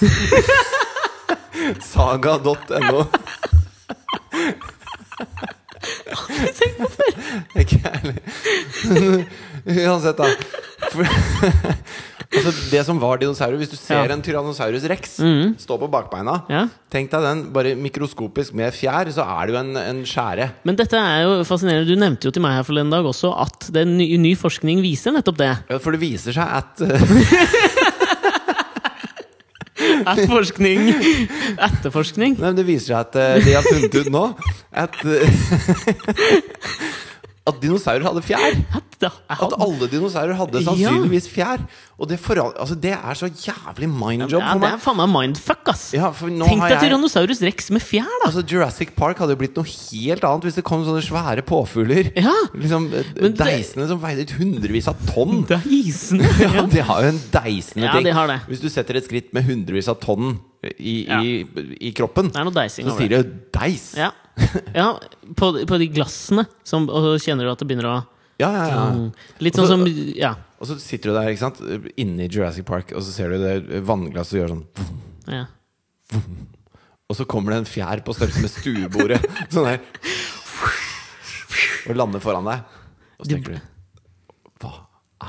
Speaker 1: saga.no. Ikke jeg heller. Uansett, da. For, altså, det som var dinosaurer Hvis du ser
Speaker 2: Ja.
Speaker 1: en Tyrannosaurus rex stå på bakbeina
Speaker 2: Ja.
Speaker 1: Tenk deg den, bare mikroskopisk med fjær, så er det jo en, en skjære.
Speaker 2: Men dette er jo fascinerende. Du nevnte jo til meg her forleden dag også at det er ny, ny forskning viser nettopp det.
Speaker 1: Ja, For det viser seg at eh,
Speaker 2: At forskning Etterforskning.
Speaker 1: Nei, men Det viser seg at eh, de har funnet ut nå at eh, At dinosaurer hadde fjær.
Speaker 2: At, da,
Speaker 1: At alle dinosaurer hadde
Speaker 2: Ja.
Speaker 1: sannsynligvis fjær. Og det, foran, altså, det er så jævlig mindjob
Speaker 2: ja,
Speaker 1: for
Speaker 2: det
Speaker 1: meg.
Speaker 2: er faen meg mindfuck, ass.
Speaker 1: Ja, for nå
Speaker 2: Tenk
Speaker 1: har
Speaker 2: deg
Speaker 1: jeg-
Speaker 2: Tyrannosaurus rex med fjær, da!
Speaker 1: Altså Jurassic Park hadde jo blitt noe helt annet hvis det kom sånne svære påfugler.
Speaker 2: Ja.
Speaker 1: Liksom eh,
Speaker 2: Men det-
Speaker 1: Deisene som veide hundrevis av tonn.
Speaker 2: Det er isende!
Speaker 1: Ja, de har jo en deisende
Speaker 2: Ja,
Speaker 1: ting.
Speaker 2: de har det.
Speaker 1: Hvis du setter et skritt med hundrevis av tonn i,
Speaker 2: Ja.
Speaker 1: i, i kroppen,
Speaker 2: Det er noe deising
Speaker 1: så
Speaker 2: over det.
Speaker 1: sier de jo 'deis'.
Speaker 2: Ja, ja på, på de glassene, som, og så kjenner du at det begynner å
Speaker 1: Ja, ja, ja. Altså,
Speaker 2: Litt sånn som Ja.
Speaker 1: Og så sitter du der ikke sant? inne i Jurassic Park, og så ser du det vannglasset og gjør sånn
Speaker 2: ja.
Speaker 1: Og så kommer det en fjær på størrelse med stuebordet. sånn der. Og lander foran deg. Og så tenker du Hva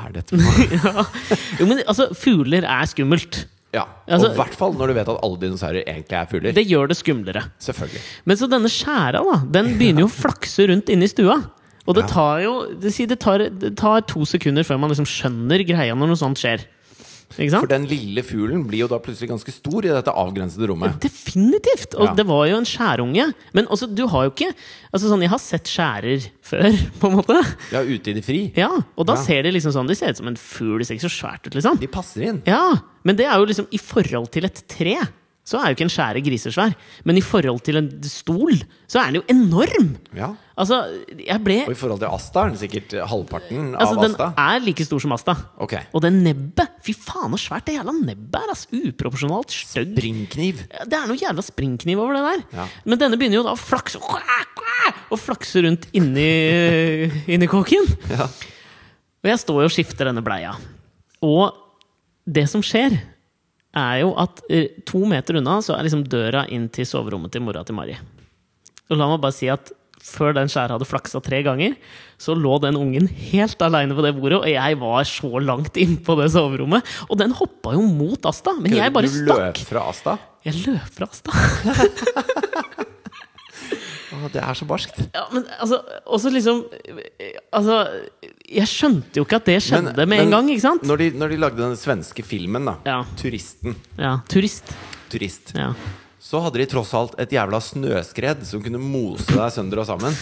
Speaker 1: er dette for noe?
Speaker 2: Jo, men altså, fugler er skummelt.
Speaker 1: Ja.
Speaker 2: Altså-
Speaker 1: og i hvert fall når du vet at alle dinosaurer egentlig er fugler.
Speaker 2: Det gjør det skumlere.
Speaker 1: Selvfølgelig.
Speaker 2: Men så denne skjæra, da, den begynner jo å flakse rundt inne i stua. Og det tar jo Det, sier det, tar, det tar to sekunder før man liksom skjønner greia når noe sånt skjer. Ikke
Speaker 1: For
Speaker 2: sant?
Speaker 1: den lille fuglen blir jo da plutselig ganske stor i dette avgrensede rommet.
Speaker 2: Definitivt! Og
Speaker 1: Ja.
Speaker 2: det var jo en skjærunge. Men også, du har jo ikke Altså sånn, Jeg har sett skjærer før, på en måte.
Speaker 1: Ja, ute i det fri.
Speaker 2: Ja, Og da
Speaker 1: Ja.
Speaker 2: ser de liksom sånn De ser ut som en fugl. Det ser ikke så svært ut, liksom.
Speaker 1: De passer inn.
Speaker 2: Ja, men det er jo liksom i forhold til et tre. Så er jo ikke en skjære grisesvær. Men i forhold til en stol, så er den jo enorm!
Speaker 1: Ja.
Speaker 2: Altså, jeg ble
Speaker 1: Og i forhold til Asta er den sikkert halvparten av
Speaker 2: Altså, den
Speaker 1: Asta.
Speaker 2: er like stor som Asta.
Speaker 1: Ok.
Speaker 2: Og det nebbet! Fy faen, så svært det jævla nebbet er! ass. Uproporsjonalt stygg.
Speaker 1: Bringkniv.
Speaker 2: Det er noe jævla springkniv over det der.
Speaker 1: Ja.
Speaker 2: Men denne begynner jo da å flakse Og flakse rundt inni, inni kåken.
Speaker 1: Ja.
Speaker 2: Og jeg står jo og skifter denne bleia. Og det som skjer, er jo at eh, to meter unna så er liksom døra inn til soverommet til mora til Mari. Og la meg bare si at før den skjæra hadde flaksa tre ganger, så lå den ungen helt aleine på det bordet, og jeg var så langt innpå det soverommet. Og den hoppa jo mot Asta, men jeg bare
Speaker 1: du
Speaker 2: stakk.
Speaker 1: løp fra Asta.
Speaker 2: Jeg løp fra Asta.
Speaker 1: Å, det er så barskt.
Speaker 2: Ja, men altså Også liksom Altså Jeg skjønte jo ikke at det skjedde
Speaker 1: Men-
Speaker 2: med
Speaker 1: men
Speaker 2: en gang, ikke sant?
Speaker 1: Når de, når de lagde den svenske filmen, da,
Speaker 2: Ja.
Speaker 1: 'Turisten',
Speaker 2: Ja, turist.
Speaker 1: turist,
Speaker 2: Ja.
Speaker 1: så hadde de tross alt et jævla snøskred som kunne mose deg sønder og sammen.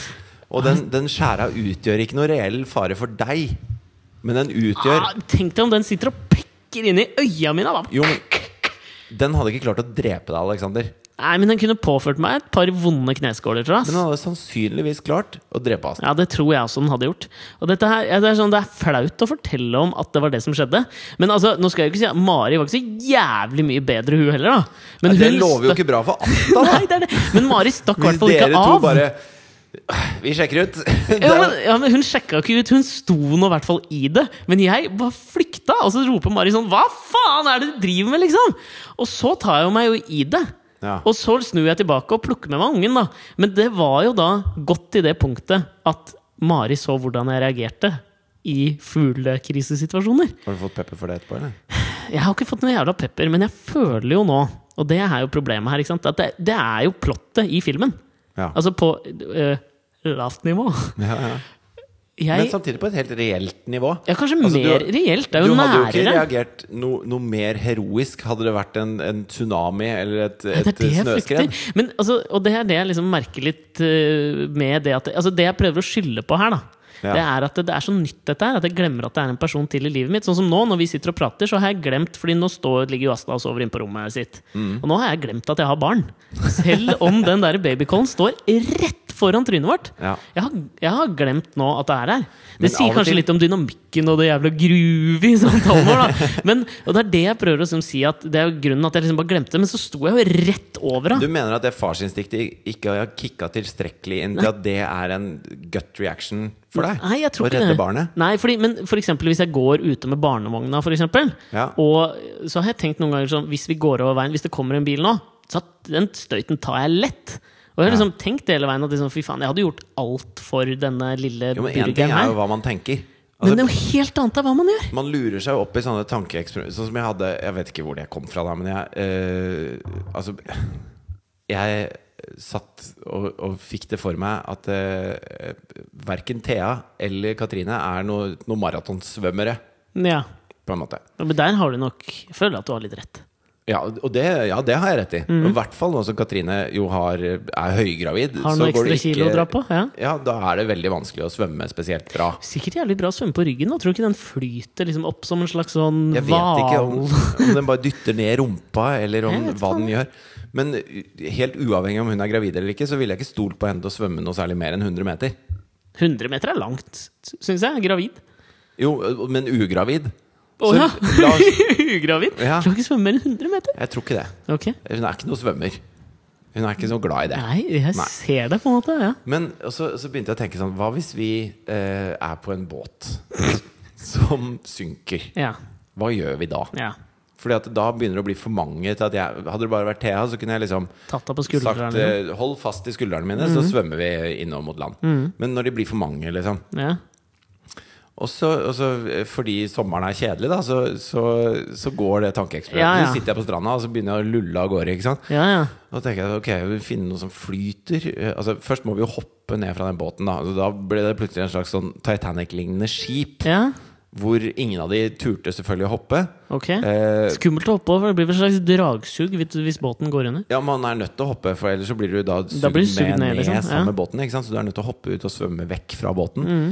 Speaker 1: Og den, den skjæra utgjør ikke noe reell fare for deg, men den utgjør
Speaker 2: Ah, tenk deg om den sitter og pekker inn i øya mine! Da.
Speaker 1: Jo, men den hadde ikke klart å drepe deg, Alexander.
Speaker 2: Nei, men den kunne påført meg et par vonde kneskåler, tror jeg.
Speaker 1: Men den
Speaker 2: ass.
Speaker 1: hadde sannsynligvis klart å drepe oss.
Speaker 2: Ja, det tror jeg også den hadde gjort. Og dette her, ja, det, er sånn, det er flaut å fortelle om at det var det som skjedde. Men altså, nå skal jeg jo ikke si at Mari var ikke så jævlig mye bedre, hun heller, da. Men
Speaker 1: Det
Speaker 2: hun
Speaker 1: lover jo
Speaker 2: stø-
Speaker 1: ikke bra for Atta, da!
Speaker 2: Nei, det er det. Men Mari stakk i
Speaker 1: Hvis
Speaker 2: hvert fall
Speaker 1: dere
Speaker 2: ikke
Speaker 1: to
Speaker 2: av.
Speaker 1: bare Vi sjekker ut.
Speaker 2: Ja men, ja, men Hun sjekka ikke ut, hun sto nå i hvert fall i det. Men jeg bare flykta, og så roper Mari sånn Hva faen er det du driver med, liksom? Og så tar jeg jo meg jo i det.
Speaker 1: Ja.
Speaker 2: Og så snur jeg tilbake og plukker med meg ungen, da. Men det var jo da godt til det punktet at Mari så hvordan jeg reagerte i fuglekrisesituasjoner.
Speaker 1: Har du fått pepper for det etterpå, eller?
Speaker 2: Jeg har ikke fått noe jævla pepper, men jeg føler jo nå, og det er jo problemet her, ikke sant? at det, det er jo plottet i filmen.
Speaker 1: Ja.
Speaker 2: Altså på øh, lavt nivå.
Speaker 1: ja, ja.
Speaker 2: Jeg,
Speaker 1: Men samtidig på et helt reelt nivå.
Speaker 2: Ja, kanskje
Speaker 1: Altså, du-
Speaker 2: mer reelt. Det er
Speaker 1: Du
Speaker 2: jo
Speaker 1: hadde jo ikke
Speaker 2: nærere.
Speaker 1: reagert no, noe mer heroisk hadde det vært en, en tsunami eller et,
Speaker 2: det
Speaker 1: et
Speaker 2: er det jeg
Speaker 1: snøskred.
Speaker 2: frykter. Men, altså, og det er det jeg liksom merker litt eh, med det at altså, Det jeg prøver å skylde på her, da.
Speaker 1: Ja.
Speaker 2: Det er at det, det er så nytt dette her, at jeg glemmer at det er en person til i livet mitt. Sånn som nå, når vi sitter og prater, så har jeg glemt Fordi nå står, ligger jo Asta og sover inne på rommet sitt.
Speaker 1: Mm.
Speaker 2: Og nå har jeg glemt at jeg har barn. Selv om den der babycallen står rett foran trynet vårt.
Speaker 1: Ja.
Speaker 2: Jeg, har, jeg har glemt nå at det er her. Det
Speaker 1: Men av
Speaker 2: sier
Speaker 1: og
Speaker 2: kanskje
Speaker 1: til-
Speaker 2: litt om dynamikken og det jævla groovy som Talmor, da. Men, og det er det jeg prøver å liksom si, at det er jo grunnen at jeg liksom bare glemte det. Men så sto jeg jo rett over
Speaker 1: Du
Speaker 2: henne.
Speaker 1: mener at det farsinstinktet ikke har kicka tilstrekkelig inn til at det er en gut reaction for deg?
Speaker 2: Nei, jeg tror
Speaker 1: å
Speaker 2: ikke
Speaker 1: redde
Speaker 2: det.
Speaker 1: barnet?
Speaker 2: Nei, fordi, men for eksempel hvis jeg går ute med barnevogna, for eksempel,
Speaker 1: Ja.
Speaker 2: og så har jeg tenkt noen ganger sånn Hvis vi går over veien, hvis det kommer en bil nå, så at den støyten tar jeg lett. Og jeg har
Speaker 1: Ja.
Speaker 2: liksom tenkt hele veien at liksom, fy faen, jeg hadde gjort alt for denne lille
Speaker 1: Jo, men én ting
Speaker 2: burgeren
Speaker 1: er
Speaker 2: her.
Speaker 1: jo hva man tenker.
Speaker 2: Men
Speaker 1: Altså,
Speaker 2: det er jo helt annet av hva man gjør.
Speaker 1: man lurer seg jo opp i sånne tankeeksperimenter. Sånn som jeg hadde Jeg vet ikke hvor det kom fra, da, men jeg eh, Altså Jeg satt og, og fikk det for meg at uh, verken Thea eller Katrine er noe- noen maratonsvømmere,
Speaker 2: Ja.
Speaker 1: på en måte.
Speaker 2: Men der har du nok Jeg føler at du har litt rett.
Speaker 1: Ja, og det, ja, det har jeg rett i. I
Speaker 2: Mhm.
Speaker 1: hvert fall nå som Katrine jo har, er høygravid.
Speaker 2: Har
Speaker 1: så
Speaker 2: noen
Speaker 1: går
Speaker 2: ekstra
Speaker 1: det ikke-
Speaker 2: kilo å dra på? Ja.
Speaker 1: Ja, da er det veldig vanskelig å svømme spesielt bra.
Speaker 2: Sikkert jævlig bra å svømme på ryggen. Da. Tror du ikke den flyter liksom opp som en slags sånn
Speaker 1: Jeg vet ikke om,
Speaker 2: hval?
Speaker 1: om den bare dytter ned rumpa, eller
Speaker 2: Jeg
Speaker 1: om
Speaker 2: vet
Speaker 1: hva
Speaker 2: faen.
Speaker 1: den gjør. Men u- helt uavhengig om hun er gravid eller ikke, så ville jeg ikke stolt på henne til å svømme noe særlig mer enn 100 meter.
Speaker 2: 100 meter er langt, syns jeg. Gravid.
Speaker 1: Jo, uh, men ugravid. Så
Speaker 2: Å ja!
Speaker 1: la oss-
Speaker 2: Ugravid?
Speaker 1: Ja.
Speaker 2: Kan ikke svømme mer enn 100 meter.
Speaker 1: Jeg tror ikke det.
Speaker 2: Ok.
Speaker 1: Hun er ikke noe svømmer. Hun er ikke så glad i det.
Speaker 2: Nei, jeg
Speaker 1: Nei.
Speaker 2: ser det på en måte. Ja.
Speaker 1: Men og så, så begynte jeg å tenke sånn Hva hvis vi eh, er på en båt som synker?
Speaker 2: Ja.
Speaker 1: Hva gjør vi da?
Speaker 2: ja.
Speaker 1: Fordi at da begynner det å bli for mange til at jeg Hadde det bare vært Thea, så kunne jeg liksom
Speaker 2: Tatt deg på
Speaker 1: sagt
Speaker 2: skuldrene. Mhm.
Speaker 1: eh, Hold fast i skuldrene mine, så svømmer vi innover mot land. Men når de blir for mange, liksom
Speaker 2: Ja.
Speaker 1: Og så, og så eh, fordi sommeren er kjedelig, da, så, så, så går det tankeeksperimentet.
Speaker 2: Ja, ja.
Speaker 1: Så sitter jeg på stranda, og så begynner jeg å lulle av gårde, ikke sant.
Speaker 2: ja, ja.
Speaker 1: Da tenker jeg ok, vi finner noe som flyter. Eh, Altså, først må vi jo hoppe ned fra den båten. Da altså, Da ble det plutselig en slags sånn Titanic-lignende skip.
Speaker 2: ja.
Speaker 1: Hvor ingen av de turte selvfølgelig å hoppe.
Speaker 2: Ok.
Speaker 1: Eh,
Speaker 2: Skummelt å hoppe over. Det blir vel et slags dragsug hvis hvis båten går under.
Speaker 1: ja, man er nødt til å hoppe, for ellers så blir du da sugd
Speaker 2: Da blir du sugd
Speaker 1: med
Speaker 2: ned,
Speaker 1: ned,
Speaker 2: liksom,
Speaker 1: sammen
Speaker 2: ja. Mm.
Speaker 1: med båten. Ikke sant? Så du er nødt til å hoppe ut og svømme vekk fra båten.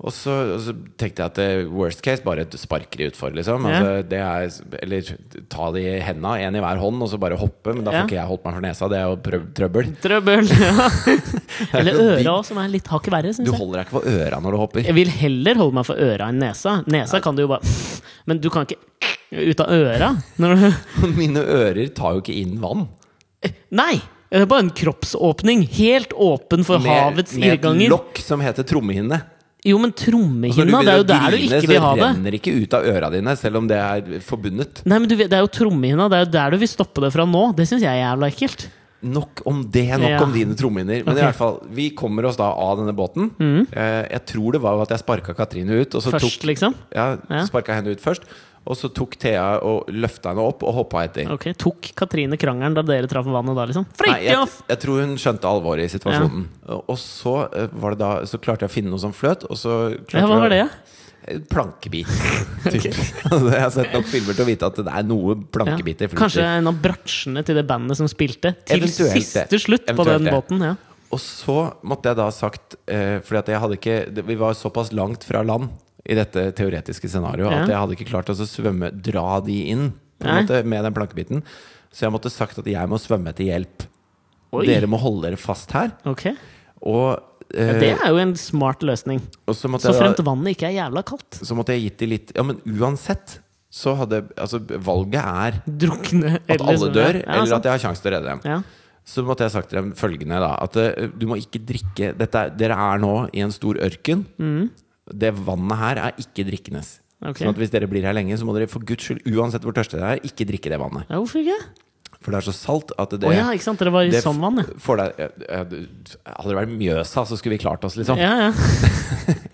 Speaker 1: Og, så, og så tenkte jeg at eh, worst case, bare sparker de utfor, liksom.
Speaker 2: Ja.
Speaker 1: Altså, det er, eller ta de i henda, én i hver hånd, og så bare hoppe. Men da får
Speaker 2: Ja.
Speaker 1: ikke jeg holdt meg for nesa, det er jo prøv- trøbbel.
Speaker 2: Trøbbel! Ja. Eller
Speaker 1: Det er jo
Speaker 2: øra, som er litt hakket verre, syns
Speaker 1: Du
Speaker 2: jeg.
Speaker 1: holder deg ikke for øra når du hopper.
Speaker 2: Jeg vil heller holde meg for øra enn nesa. Nesa kan du jo bare Men du kan ikke ut av øra. Når du...
Speaker 1: Mine ører tar jo ikke inn vann.
Speaker 2: Nei! Det er bare en kroppsåpning. Helt åpen for havets
Speaker 1: Med et
Speaker 2: irrganger.
Speaker 1: lokk som heter trommehinne.
Speaker 2: Jo, men
Speaker 1: Så når
Speaker 2: trommehinna,
Speaker 1: du
Speaker 2: det er jo
Speaker 1: begynner å
Speaker 2: der du
Speaker 1: grine,
Speaker 2: ikke vil ha
Speaker 1: Så
Speaker 2: det.
Speaker 1: renner ikke ut av øra dine, selv om det er forbundet.
Speaker 2: Nei, men du, vet- Det er jo trommehinna, det er jo der du vil stoppe det fra nå. Det syns jeg er jævla ekkelt.
Speaker 1: Nok om det, nok
Speaker 2: Ja.
Speaker 1: om dine trommehinner. Men
Speaker 2: Ok. Mm.
Speaker 1: i hvert fall, vi kommer oss da av denne båten. Eh, Jeg tror det var jo at jeg sparka Katrine ut, og så
Speaker 2: Først,
Speaker 1: tok
Speaker 2: liksom.
Speaker 1: ja,
Speaker 2: Ja.
Speaker 1: sparka henne ut først. Og så tok Thea og løfta henne opp og hoppa etter.
Speaker 2: Ok, Tok Katrine krangelen da dere traff vannet da, liksom?
Speaker 1: Nei, jeg,
Speaker 2: Fritjof!
Speaker 1: jeg tror hun skjønte alvoret i situasjonen. Og så, eh, var det da, så klarte jeg å finne noe som fløt, og så klarte
Speaker 2: Ja, hva
Speaker 1: vi å-
Speaker 2: var det?
Speaker 1: En Plankebit. Typ. Altså, jeg har sett nok filmer til å vite at det er noe
Speaker 2: Ja.
Speaker 1: plankebiter. flyter.
Speaker 2: Kanskje en av bratsjene til det bandet som spilte? Til
Speaker 1: Eventuelt det.
Speaker 2: siste slutt på
Speaker 1: Eventuelt
Speaker 2: den
Speaker 1: det.
Speaker 2: båten? Ja.
Speaker 1: Og så måtte jeg da ha sagt eh, Fordi at jeg hadde ikke det- Vi var såpass langt fra land i dette teoretiske scenarioet
Speaker 2: Ja.
Speaker 1: at jeg hadde ikke klart å så svømme Dra de inn på en
Speaker 2: Nei.
Speaker 1: måte, med den plankebiten. Så jeg måtte sagt at jeg må svømme etter hjelp.
Speaker 2: Oi.
Speaker 1: Dere må holde dere fast her.
Speaker 2: Ok.
Speaker 1: Og, eh,
Speaker 2: Ja, det er jo en smart løsning.
Speaker 1: og så måtte
Speaker 2: Så
Speaker 1: jeg da-
Speaker 2: fremt vannet ikke er jævla kaldt.
Speaker 1: så måtte jeg gitt de litt Ja, men uansett så hadde Altså, valget er
Speaker 2: Drukne
Speaker 1: at alle
Speaker 2: sånn,
Speaker 1: dør, eller at
Speaker 2: jeg
Speaker 1: jeg har sjanse til å redde dem.
Speaker 2: ja.
Speaker 1: Så måtte jeg sagt til dem følgende, da. At eh, du må ikke drikke dette, er- Dere er nå i en stor ørken. Det vannet her er ikke drikkendes.
Speaker 2: Mm. Ok.
Speaker 1: Sånn at hvis dere blir her lenge, så må dere for guds skyld, uansett hvor tørste dere er, ikke drikke det vannet.
Speaker 2: ja, hvorfor ikke?
Speaker 1: For det er så salt at det
Speaker 2: Å ja, ikke sant? Dere var i
Speaker 1: det f-
Speaker 2: sånn vann, ja.
Speaker 1: får deg eh, eh, du- Hadde det vært Mjøsa, så skulle vi klart oss, liksom.
Speaker 2: Ja, ja.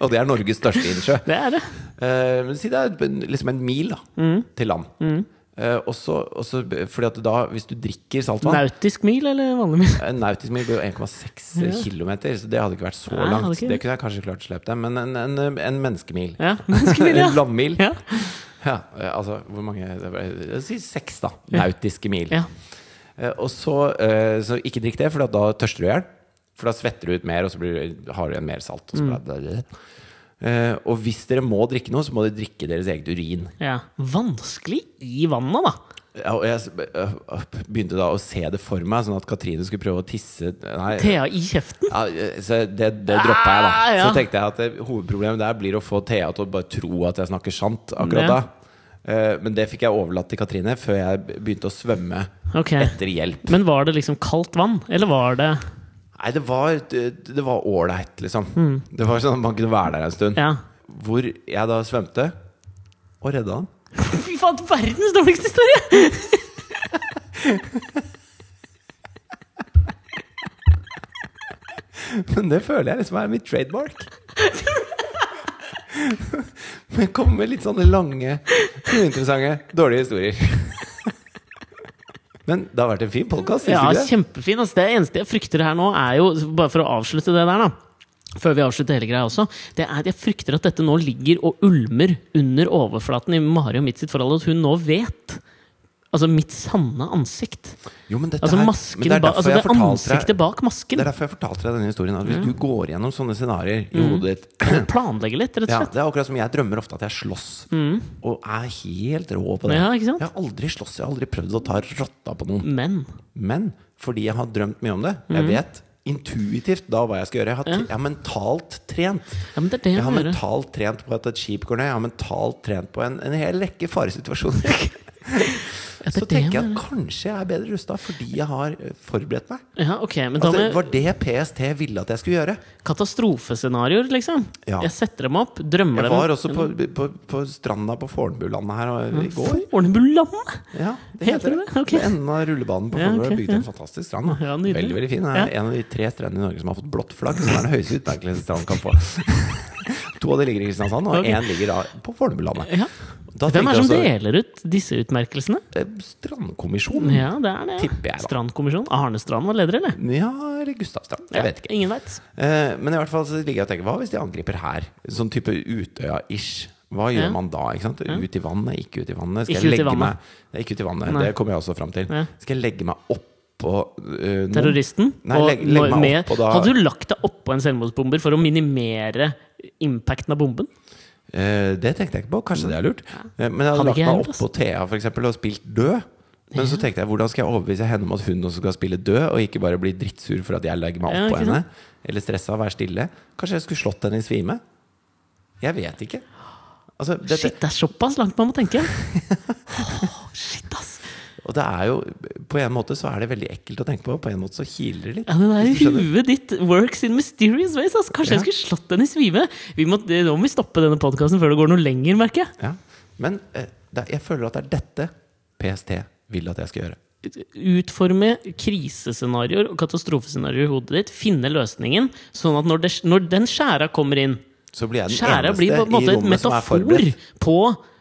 Speaker 1: Og det er Norges største innsjø.
Speaker 2: Det er det.
Speaker 1: Eh, Men si det er en- liksom en mil da,
Speaker 2: Mm.
Speaker 1: til land. Eh, og så- og så- fordi at da, hvis du drikker saltvann
Speaker 2: Nautisk mil eller vanlig mil?
Speaker 1: En Eh, nautisk mil blir jo 1,6 kilometer, så det hadde ikke vært så
Speaker 2: Nei, hadde
Speaker 1: langt.
Speaker 2: ikke det.
Speaker 1: Det kunne jeg kanskje klart å slippe til, men en, en, en menneskemil.
Speaker 2: Ja, menneskemil, ja.
Speaker 1: En landmil.
Speaker 2: Ja.
Speaker 1: Ja, eh, altså hvor mange det var- Si seks, da. Nautiske mil.
Speaker 2: ja.
Speaker 1: Eh, Og så, eh, så ikke drikk det, for da tørster du i hjel. For da svetter du ut mer, og så blir, du- har du igjen mer salt. Og, så
Speaker 2: Mm.
Speaker 1: blir det- Eh, og hvis dere må drikke noe, så må dere drikke deres eget urin.
Speaker 2: ja. Vanskelig i vannet, da.
Speaker 1: Ja, og jeg s- be- øh, øh, begynte da å se det for meg, sånn at Katrine skulle prøve å tisse Nei.
Speaker 2: Thea i kjeften.
Speaker 1: Ja, så det, det droppa jeg,
Speaker 2: Ah,
Speaker 1: da.
Speaker 2: ja.
Speaker 1: Så tenkte jeg at det, hovedproblemet der blir å få Thea til å bare tro at jeg snakker sant akkurat
Speaker 2: Ja.
Speaker 1: da. Eh, Men det fikk jeg overlatt til Katrine før jeg begynte å svømme
Speaker 2: Ok.
Speaker 1: etter hjelp.
Speaker 2: Men var det liksom kaldt vann, eller var det
Speaker 1: Nei, det var det- det var ålreit, liksom. Det var sånn at man kunne være der en stund.
Speaker 2: Mm. Ja.
Speaker 1: Hvor jeg da svømte og redda han.
Speaker 2: Fy faen, verdens dårligste historie!
Speaker 1: Men det føler jeg liksom er mitt trademark. Men kommer med litt sånne lange, uinteressante, dårlige historier. Men det har vært en fin podkast,
Speaker 2: Ja,
Speaker 1: syns du ikke det?
Speaker 2: kjempefin. Altså, det eneste jeg frykter her nå, er jo Bare for å avslutte det der, da. Før vi avslutter hele greia også. Det er at Jeg frykter at dette nå ligger og ulmer under overflaten i Mari og mitt sitt forhold. At hun nå vet. Altså mitt sanne ansikt.
Speaker 1: Jo, men dette
Speaker 2: Altså
Speaker 1: er-
Speaker 2: masken
Speaker 1: men det er
Speaker 2: ba,
Speaker 1: derfor
Speaker 2: altså,
Speaker 1: jeg
Speaker 2: det
Speaker 1: fortalte deg-
Speaker 2: ansiktet bak masken.
Speaker 1: Det er derfor jeg fortalte deg denne historien. At hvis du går gjennom sånne scenarioer
Speaker 2: Mm.
Speaker 1: i hodet ditt
Speaker 2: Planlegge litt, rett og
Speaker 1: ja,
Speaker 2: slett.
Speaker 1: Det er akkurat som jeg drømmer ofte at jeg slåss. Og er helt rå på det.
Speaker 2: Mm. Ja, ikke sant?
Speaker 1: Jeg har aldri slåss, jeg har aldri prøvd å ta rotta på noen.
Speaker 2: Men
Speaker 1: Men fordi jeg har drømt mye om det,
Speaker 2: Mhm.
Speaker 1: jeg vet intuitivt da hva jeg skal gjøre. Jeg har, tre- jeg har mentalt trent.
Speaker 2: Ja, men det er det
Speaker 1: jeg har
Speaker 2: jeg hører.
Speaker 1: mentalt trent på at et skip går ned. Jeg har mentalt trent på en, en hel rekke faresituasjoner.
Speaker 2: ja, det
Speaker 1: Så
Speaker 2: er det jeg
Speaker 1: tenker jeg at
Speaker 2: mener.
Speaker 1: kanskje jeg er bedre rusta fordi jeg har eh, forberedt meg.
Speaker 2: Ja, ok, men da
Speaker 1: Altså,
Speaker 2: må
Speaker 1: det
Speaker 2: jeg
Speaker 1: var det PST ville at jeg skulle gjøre.
Speaker 2: Katastrofescenarioer, liksom.
Speaker 1: Ja.
Speaker 2: Jeg setter dem opp, drømmer
Speaker 1: Jeg
Speaker 2: dem
Speaker 1: var også på, på, på stranda på Fornebulandet her eh, i går.
Speaker 2: Fornebulandet!
Speaker 1: Ja, det
Speaker 2: Heter
Speaker 1: heter
Speaker 2: det det?
Speaker 1: det.
Speaker 2: Ok.
Speaker 1: Ved enden av rullebanen på
Speaker 2: Ja,
Speaker 1: Fornebu er
Speaker 2: ok,
Speaker 1: bygd en fantastisk strand. Da.
Speaker 2: Ja, nydelig.
Speaker 1: veldig, veldig fin. Det er
Speaker 2: Ja.
Speaker 1: en av de tre strendene i Norge som har fått blått flagg, som er den høyeste utmerkelsesstranden kan få. to av de ligger i Kristiansand, og
Speaker 2: Ok.
Speaker 1: én ligger da på Fornebulandet.
Speaker 2: Ja.
Speaker 1: Da
Speaker 2: Hvem
Speaker 1: tenkte
Speaker 2: er det som
Speaker 1: jeg
Speaker 2: deler ut disse utmerkelsene?
Speaker 1: også, eh, Strandkommisjonen?
Speaker 2: Ja, det er det.
Speaker 1: Tipper jeg, da.
Speaker 2: Strandkommisjonen. Arne Strand var leder, eller?
Speaker 1: Ja, eller Gustavstrand. Jeg vet ikke.
Speaker 2: Ingen veit.
Speaker 1: Eh, men i hvert fall så ligger jeg og tenker, hva hvis de angriper her? Sånn type Utøya-ish. Hva gjør
Speaker 2: Ja.
Speaker 1: man da? ikke sant? Ut i vannet, ikke ut i vannet.
Speaker 2: Ikke
Speaker 1: Skal
Speaker 2: ut i
Speaker 1: jeg legge
Speaker 2: vannet.
Speaker 1: meg Nei, Ikke ut i vannet,
Speaker 2: Nei.
Speaker 1: det kommer jeg også fram til.
Speaker 2: Ja.
Speaker 1: Skal jeg legge meg oppå eh, noen-
Speaker 2: Terroristen.
Speaker 1: Nei,
Speaker 2: og
Speaker 1: legg, legg meg
Speaker 2: når- med-
Speaker 1: opp, og da
Speaker 2: Hadde du lagt deg oppå en selvmordsbomber for å minimere impacten av bomben?
Speaker 1: eh, Det tenkte jeg ikke på. Kanskje det er lurt. Eh, men jeg hadde
Speaker 2: Hadde
Speaker 1: lagt
Speaker 2: ikke jeg
Speaker 1: meg
Speaker 2: lurt,
Speaker 1: oppå Thea for eksempel, og spilt død. Men så tenkte jeg, hvordan skal jeg overbevise henne om at hun også skal spille død, og ikke bare bli drittsur for at jeg legger meg
Speaker 2: Ja,
Speaker 1: oppå
Speaker 2: ikke
Speaker 1: henne? Eller stressa og være stille? Kanskje jeg skulle slått henne i svime? Jeg vet ikke. Altså, dette,
Speaker 2: Shit, det er såpass langt man må tenke! Åh, shit, ass!
Speaker 1: Og det er jo, på en måte så er det veldig ekkelt å tenke på, på en måte så kiler det litt.
Speaker 2: Ja, det der
Speaker 1: Hvis du skjønner.
Speaker 2: huet ditt works in mysterious ways. Altså. Kanskje jeg
Speaker 1: Ja.
Speaker 2: skulle slått den i svime? Vi må, det- nå må vi stoppe denne podkasten før det går noe lenger, merker jeg.
Speaker 1: Ja. Men eh, det, er- jeg føler at det er dette PST vil at jeg skal gjøre.
Speaker 2: Utforme krisescenarioer og katastrofescenarioer i hodet ditt. Finne løsningen, sånn at når, det, når den skjæra kommer inn
Speaker 1: Så blir jeg den
Speaker 2: Skjæra
Speaker 1: eneste
Speaker 2: blir på en
Speaker 1: i
Speaker 2: måte et
Speaker 1: rommet som er
Speaker 2: metafor
Speaker 1: forberedt.
Speaker 2: på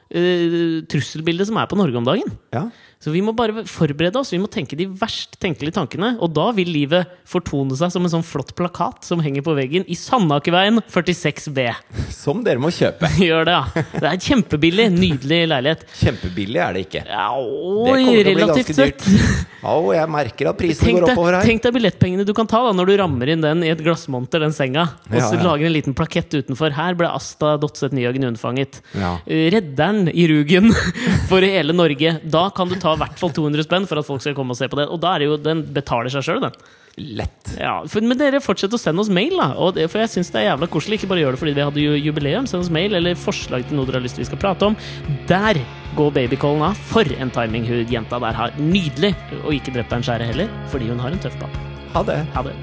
Speaker 2: eh, eh, trusselbildet som er på Norge om dagen.
Speaker 1: Ja.
Speaker 2: Så vi må bare forberede oss. Vi må tenke de verst tenkelige tankene. Og da vil livet fortone seg som en sånn flott plakat som henger på veggen i Sandakerveien 46B.
Speaker 1: Som dere må kjøpe.
Speaker 2: Gjør det, ja. Det er kjempebillig. Nydelig leilighet.
Speaker 1: Kjempebillig er det ikke.
Speaker 2: Ja,
Speaker 1: Det
Speaker 2: oi,
Speaker 1: kommer til å bli
Speaker 2: relativt
Speaker 1: ganske dyrt.
Speaker 2: sett.
Speaker 1: Au, jeg merker at prisene
Speaker 2: Tenk
Speaker 1: går
Speaker 2: deg,
Speaker 1: oppover her.
Speaker 2: tenk deg billettpengene du kan ta da når du rammer inn den i et glassmonter, den senga. Og
Speaker 1: Ja,
Speaker 2: så
Speaker 1: ja.
Speaker 2: lager en liten plakett utenfor. Her ble Asta Dotset Nyhagen unnfanget.
Speaker 1: Ja.
Speaker 2: Eh, Redderen i rugen for hele Norge. Da kan du ta i hvert fall 200 spenn for at folk skal komme og se på det. Og da er det jo, den betaler seg sjøl, den.
Speaker 1: Lett.
Speaker 2: Ja, for, men dere fortsetter å sende oss mail, da. Og det, for jeg syns det er jævla koselig. Ikke bare gjør det fordi vi hadde ju- jubileum. Send oss mail eller forslag til noe dere har lyst til vi skal prate om. Der går babycallen av. For en timing hun jenta der har. Nydelig. Og ikke drept av en skjære heller, fordi hun har en tøff pappa.
Speaker 1: Ha det.
Speaker 2: Ha det.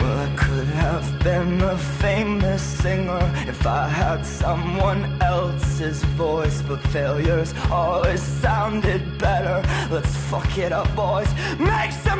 Speaker 3: Well, I could have been a famous singer if I had someone else's voice, but failures always sounded better. Let's fuck it up, boys. Make some